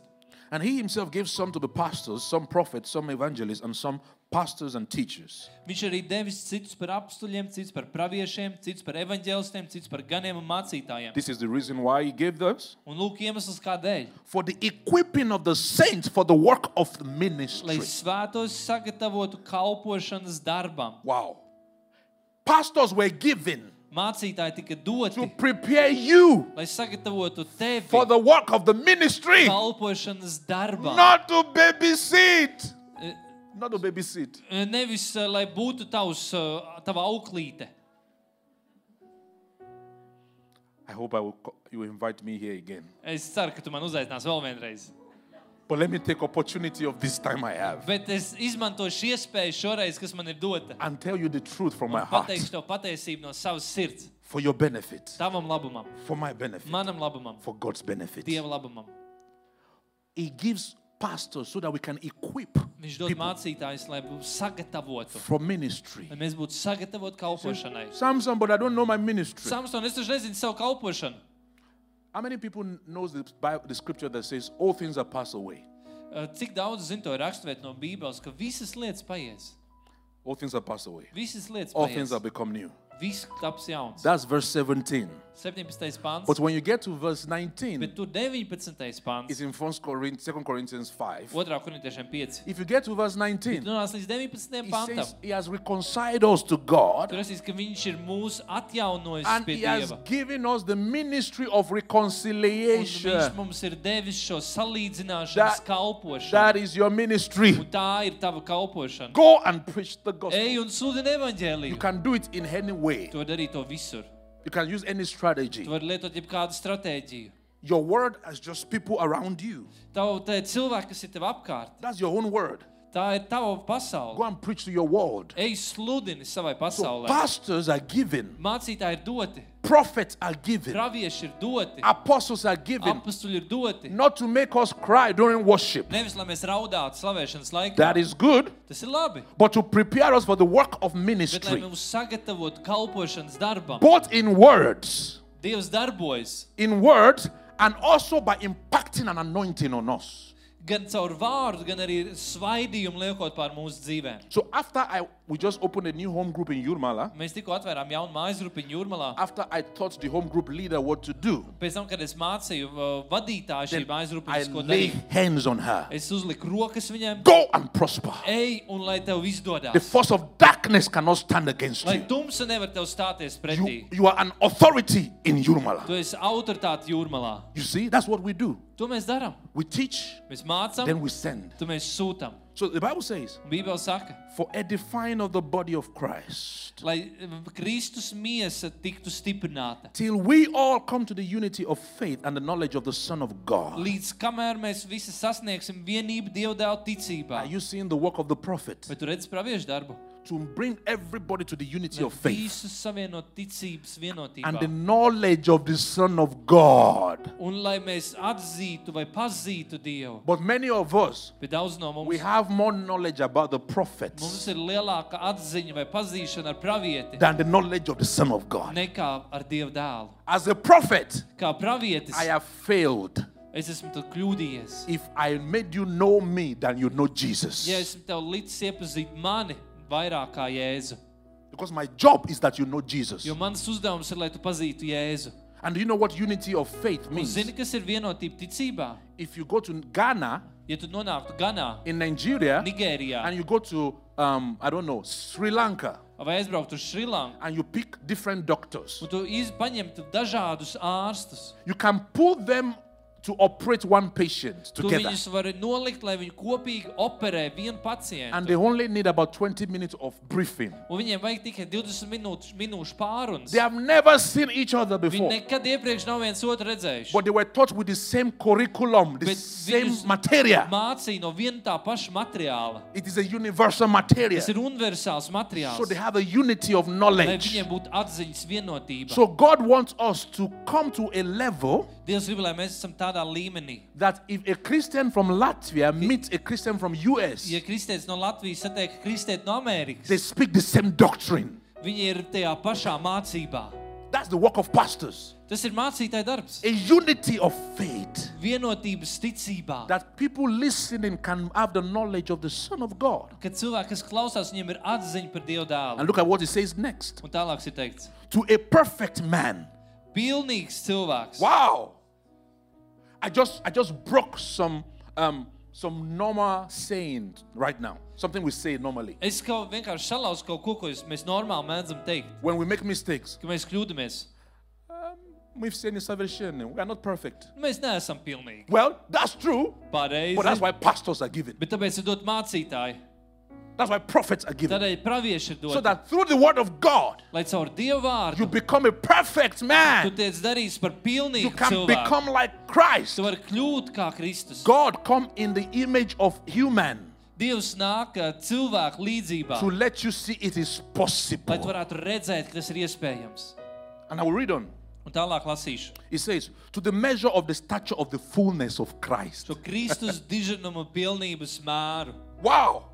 S2: And he himself gave some to the pastors, some prophets, some evangelists, and some pastors and teachers.
S1: Viņš arī devis citus par apstuļiem, citus par praviešiem, citus par evaņģēlistiem, citus par ganiem un mācītājiem.
S2: This is the reason why he gave those
S1: Un lūk, iemesls kādēļ.
S2: for the equipping of the saints for the work of the
S1: Lai
S2: ministry.
S1: svētos sagatavotu kalpošanas darbam.
S2: Wow. Pastors were given
S1: Mācītāji tika
S2: to
S1: doti,
S2: prepare you
S1: lai sagatavotu tevi
S2: for the work of the [LAUGHS] ministry,
S1: kalpošanas darbam.
S2: not to babysit.
S1: Eh.
S2: Not to babysit.
S1: Nevis eh, lai būtu tavs, eh, tava auklīte.
S2: I hope I will, co- you will invite me here again.
S1: Es ceru, ka tu man uzaicināsi vēl vienreiz.
S2: But let me take opportunity of this time I have
S1: Bet es izmantošu iespēju šoreiz, kas man ir dota.
S2: and tell you the truth from my heart
S1: Pateikšu tev patiesību no savas sirds,
S2: for your benefit,
S1: tavam labumam,
S2: for my benefit,
S1: manam labumam,
S2: for God's benefit.
S1: Dieva labumam.
S2: He gives pastors so that we can equip
S1: Viņš dod
S2: people
S1: mācītājus, lai būtu sagatavotu,
S2: for ministry.
S1: lai mēs būtu sagatavoti kalpošanai.
S2: Samson, but I don't know my ministry.
S1: Samson, es taču nezinu savu kalpošanu.
S2: How many people kn- knows the, Bible, the scripture that says all things are passed away?
S1: Eh, Cik daudz zinu to raksturēt no Bībeles, ka visas lietas paies.
S2: All things are passed away.
S1: Visas lietas
S2: All
S1: paies.
S2: things have become new.
S1: Viss taps jauns.
S2: That's verse 17.
S1: 17. pāns.
S2: But when you get to verse 19,
S1: Bet tur 19. pāns,
S2: it's in 1 Corinthians, 2 Corinthians 5.
S1: 2 korintiešiem 5.
S2: If you get to verse 19,
S1: Nonāc līdz 19.
S2: he
S1: pantam.
S2: says he has reconciled us to God
S1: Tur rakstīts, ka viņš ir mūs atjaunojis
S2: and
S1: pie
S2: he has
S1: Dieva.
S2: given us the ministry of
S1: Un Viņš
S2: reconciliation.
S1: mums ir devis šo salīdzināšanas
S2: That-
S1: kalpošanu.
S2: That is your ministry.
S1: Un tā ir tava kalpošana.
S2: Go and preach the gospel.
S1: Ej un sūdi
S2: You
S1: evaņģēlīju.
S2: can do it in any way.
S1: Tu vari darīt to visur.
S2: You can use any
S1: Tu
S2: strategy.
S1: vari lietot jebkādu stratēģiju.
S2: Your word is just people around you.
S1: Tavu te cilvēku, kas ir tev apkārt,
S2: That's your own word.
S1: tā ir tava
S2: Go
S1: pasaule.
S2: and preach to your world.
S1: Ej sludini savai
S2: So
S1: pasaulē.
S2: pastors are given,
S1: Mācītāji ir doti,
S2: prophets are given,
S1: pravieši ir doti,
S2: apostles are given,
S1: apstuļi ir doti.
S2: not to make us cry during worship.
S1: Nevis lai mēs raudātu slavēšanas laikā.
S2: That is good,
S1: Tas ir labi.
S2: but to prepare us for the work of
S1: Bet, lai
S2: ministry,
S1: mums sagatavotu kalpošanas darbam,
S2: both in words,
S1: Dievs darbojas
S2: in words, and also by impacting an anointing on us.
S1: gan caur vārdu, gan arī svaidījumu liekot pār mūsu dzīvēm.
S2: So after I we just opened a new home group in Yurmala,
S1: Mēs tikko atvērām jaunu mājasgrupu Jurmalā.
S2: after I taught the home group leader what to do,
S1: Pēc tam, kad es mācīju uh, vadītāju šī
S2: then I
S1: mājasgrupas, ko
S2: lay
S1: darīju,
S2: hands on her.
S1: es uzliku rokas viņam,
S2: Go and prosper.
S1: ej un lai tev
S2: The
S1: izdodas.
S2: force of darkness cannot stand against
S1: Lai
S2: you.
S1: tumsa nevar tev stāties pretī.
S2: You, you are an authority in
S1: Tu
S2: Yurmala.
S1: esi autoritāte Jurmalā.
S2: You see, that's what we do.
S1: To mēs darām.
S2: We teach,
S1: Mēs
S2: then
S1: mācām,
S2: we send.
S1: tu mēs sūtām.
S2: So the Bible says,
S1: Bībeli saka,
S2: for edifying of the body of Christ,
S1: lai uh, Kristus miesa tiktu stiprināta.
S2: till we all come to the unity of faith and the knowledge of the Son of God.
S1: Līdz kamēr mēs visi sasniegsim vienību Dievdēla ticībā.
S2: Are you seeing the work of the prophet
S1: Bet tu redzi praviešu darbu.
S2: to bring everybody to the unity of faith
S1: Visus savienot ticības
S2: and the
S1: vienotībā.
S2: knowledge of the Son of God?
S1: Un lai mēs atzītu vai pazītu Dievu.
S2: But many of us,
S1: Bet daudz no
S2: we
S1: mums,
S2: have more knowledge about the
S1: mums
S2: prophets
S1: ir lielāka atziņa vai pazīšana ar pravieti
S2: than the knowledge of the Son of God.
S1: nekā ar Dievu dēlu.
S2: As a prophet,
S1: Kā pravietis,
S2: I have failed.
S1: es esmu tev kļūdījies.
S2: If I made you know me than you know Jesus.
S1: Ja esmu tev līdz iepazīt mani vairāk kā Jēzu.
S2: Because my job is that you know Jesus.
S1: Jo mans uzdevums ir, lai tu pazītu Jēzu.
S2: And do you know what unity of faith
S1: Un
S2: means?
S1: zini, kas ir vienotība ticībā?
S2: If you go to Ghana,
S1: Ja tu nonāktu Ganā,
S2: in Nigeria,
S1: Nigērijā,
S2: and you go to, um, I don't know, Sri Lanka,
S1: vai aizbraukt uz Šrilanku,
S2: and you pick different doctors,
S1: un tu iz- paņemtu dažādus ārstus.
S2: you can pull them to operate one patient
S1: Tu
S2: together.
S1: viņus vari nolikt, lai viņi kopīgi operē vienu pacientu.
S2: And they only need about 20 minutes of briefing.
S1: Un viņiem vajag tikai 20 minūtes, minūšu pārunas.
S2: They have never seen each other
S1: Viņi
S2: before,
S1: nekad iepriekš nav viens otru redzējuši.
S2: but they were taught with the same curriculum, the
S1: But
S2: same
S1: these-
S2: material.
S1: Mācīja no viena tā paša materiāla.
S2: It is a universal material.
S1: Tas ir universāls materiāls.
S2: So they have a unity of
S1: Lai
S2: knowledge.
S1: viņiem būtu atziņas vienotība.
S2: So God wants us to come to a level
S1: Dievs grib, lai mēs esam tādā līmenī.
S2: that if a Christian from Latvia meets a Christian from US,
S1: Ja kristietis no Latvijas satiek kristieti no Amerikas,
S2: they speak the same doctrine.
S1: viņi ir tajā pašā mācībā.
S2: That's That's the work of pastors.
S1: Tas ir mācītāja darbs.
S2: A unity of faith
S1: Vienotības ticībā.
S2: that people listening can have the knowledge of the Son of God.
S1: Kad cilvēki, kas klausās, viņiem ir atziņa par Dieva dēlu.
S2: And look at what he says next.
S1: Un tālāk ir teikts,
S2: To a perfect man.
S1: pilnīgs cilvēks.
S2: Wow. I just I just broke some um some normal saying right now. Something we say normally.
S1: Es kaut vienkārši salauzu kaut ko, ko es- mēs normāli mēdzam teikt,
S2: When we make mistakes,
S1: ka mēs kļūdāmies.
S2: we've seen in salvation, we are not perfect.
S1: Nu, Mēs neesam pilnīgi
S2: Well, that's true, but that's
S1: pareizi.
S2: why pastors are given.
S1: Bet tāpēc ir dot mācītāji.
S2: That's why prophets are given.
S1: Tādēļ pravieši ir
S2: So
S1: dot.
S2: that through the word of God,
S1: Lai caur Dieva
S2: you
S1: vārdu
S2: become a perfect
S1: tu
S2: man.
S1: tiec darīts par
S2: You
S1: pilnīgu
S2: can
S1: cilvēku.
S2: become like Christ.
S1: Tu vari kļūt kā Kristus.
S2: God come in the image of human
S1: Dievs nāk ā, cilvēku līdzībā,
S2: to let you see it is
S1: lai tu
S2: possible.
S1: varētu redzēt, ka tas ir iespējams.
S2: And I will read on.
S1: Un tālāk lasīšu.
S2: It says, to the measure of the stature of the fullness of Christ.
S1: Šo Kristus diženuma pilnības mēru
S2: Wow.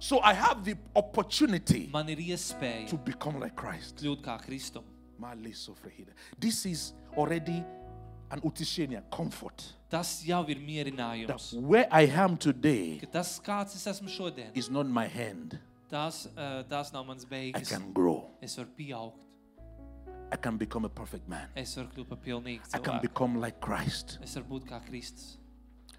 S2: So I have the opportunity
S1: man ir
S2: to
S1: iespēja
S2: become like Christ.
S1: kļūt kā Kristum.
S2: Mali sofrehida. This is already an utishenia comfort.
S1: Tas jau ir
S2: That
S1: mierinājums.
S2: where I am today
S1: Ka tas, kāds es esmu šodien,
S2: is not my hand.
S1: tās, ā, tās nav mans
S2: I
S1: beigas.
S2: can grow.
S1: Es varu pieaugt,
S2: I can become a perfect man.
S1: es varu kļūt par pilnīgu
S2: I can
S1: cilvēku.
S2: become like Christ.
S1: Es varu būt kā Kristus.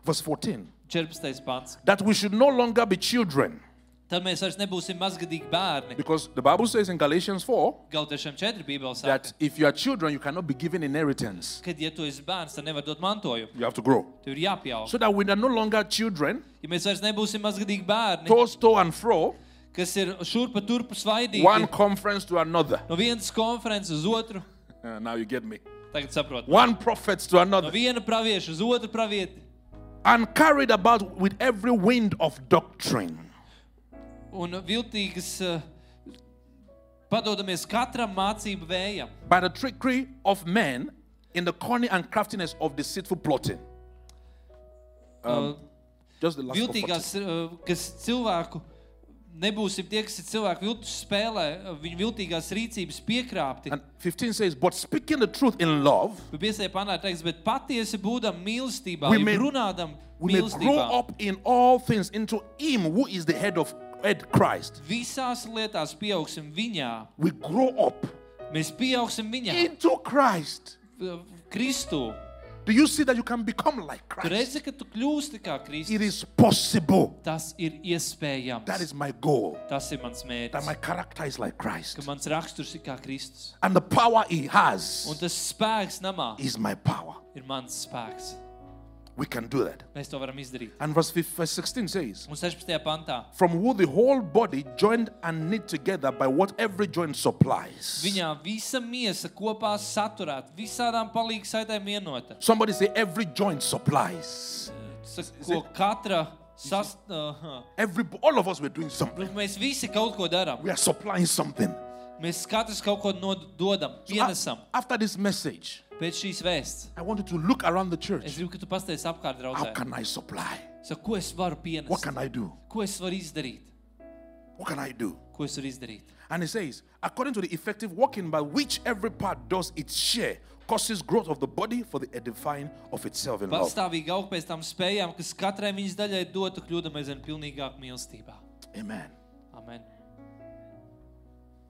S2: Verse 14.
S1: 14. pāns.
S2: That we should no longer be children.
S1: Tad mēs vairs nebūsim mazgadīgi bērni.
S2: Because the Bible says in Galatians 4
S1: Gautiešiem 4. bībelē
S2: that
S1: saka,
S2: if you are children, you cannot be given inheritance.
S1: ka, ja tu esi bērns, tad nevar dot mantojumu.
S2: You have to grow.
S1: Tev ir jāpieaug.
S2: So that we are no longer children,
S1: Ja mēs vairs nebūsim mazgadīgi bērni,
S2: tossed to and fro,
S1: kas ir šurpa turpu svaidīti
S2: one conference to another.
S1: no vienas konferences uz otru,
S2: Uh, now you get me.
S1: tagad saprotu,
S2: One prophet to
S1: no
S2: another,
S1: viena pravieša uz otru pravieti
S2: and carried about with every wind of doctrine.
S1: un viltīgas. eh, Padodamies katram mācību vējam,
S2: by the trickery of men in the cunning and craftiness of deceitful plotting. Just the last one, 14.
S1: viltīgās, eh, kas cilvēku nebūsim tie, kas ir cilvēku viltus spēlē, eh, viņu viltīgās rīcības piekrāpti.
S2: And 15 says, But speaking the truth in love,
S1: Bet Bībelē panākt, teiks, bet patiesi būdam mīlestībā,
S2: We
S1: jeb
S2: may-
S1: runādam
S2: we may grow
S1: mīlestībā.
S2: up in all things into Him who is the head of head Christ.
S1: Visās lietās pieaugsim viņā.
S2: We grow up
S1: Mēs pieaugsim viņā.
S2: into Christ.
S1: Kristu.
S2: Do you see that you can become like
S1: Tu
S2: Christ?
S1: redzi, ka tu kļūsti kā
S2: It
S1: Kristus.
S2: is possible.
S1: Tas ir iespējams.
S2: That is my goal.
S1: Tas ir mans
S2: That my
S1: mērķis.
S2: character is like Christ.
S1: Ka mans raksturs ir kā Kristus.
S2: And the power He
S1: Un
S2: has
S1: tas spēks namā
S2: is my power.
S1: ir mans spēks.
S2: We can do that.
S1: Mēs to varam izdarīt.
S2: And verse 15 verse 16 says,
S1: Un 16. pantā.
S2: from who the whole body joined and knit together by what every joint supplies.
S1: Viņā visa miesa kopā saturēta, visādām palīgas saitēm vienota.
S2: Somebody say every joint supplies.
S1: Saka, ko katra sas... Uh,
S2: Every all of us we're doing something.
S1: Mēs visi kaut ko darām.
S2: We are supplying something.
S1: Mēs katrs kaut ko nododam,
S2: So af-
S1: pienesam
S2: after this message,
S1: pēc šīs vēstures.
S2: I want you to look around the
S1: Es
S2: church.
S1: gribu, ka tu pastāstīsi apkārt
S2: How
S1: draugiem.
S2: can I supply?
S1: Saku, ko es varu
S2: What
S1: pienest?
S2: can I do?
S1: Ko es varu izdarīt?
S2: What can I do?
S1: Ko es varu izdarīt?
S2: And it says, according to the effective working by which every part does its share, causes growth of the body for the edifying of itself in love.
S1: Pastāvīgi augt pēc tam spējām, kas katrai viņas daļai dotu, kļūdam aizvien pilnīgāk mīlestībā.
S2: Amen.
S1: Amen.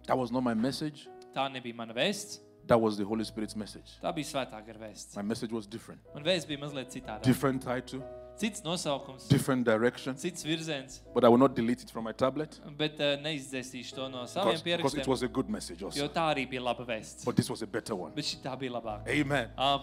S2: That was not my message.
S1: Tā nebija mana vēsts,
S2: That was the Holy Spirit's message.
S1: tā bija svētā gara vēsts.
S2: My message was different.
S1: Man vēsts bija mazliet citāda.
S2: different title,
S1: Cits nosaukums,
S2: different direction,
S1: cits virziens,
S2: but I will not delete it from my tablet
S1: bet uh, neizdzēsīšu to no saviem
S2: because, because it
S1: pierakstiem,
S2: was a good message
S1: jo
S2: also.
S1: tā arī bija laba vēsts.
S2: But this was a better one.
S1: Bet šī tā bija labāka.
S2: Amen.
S1: Amen.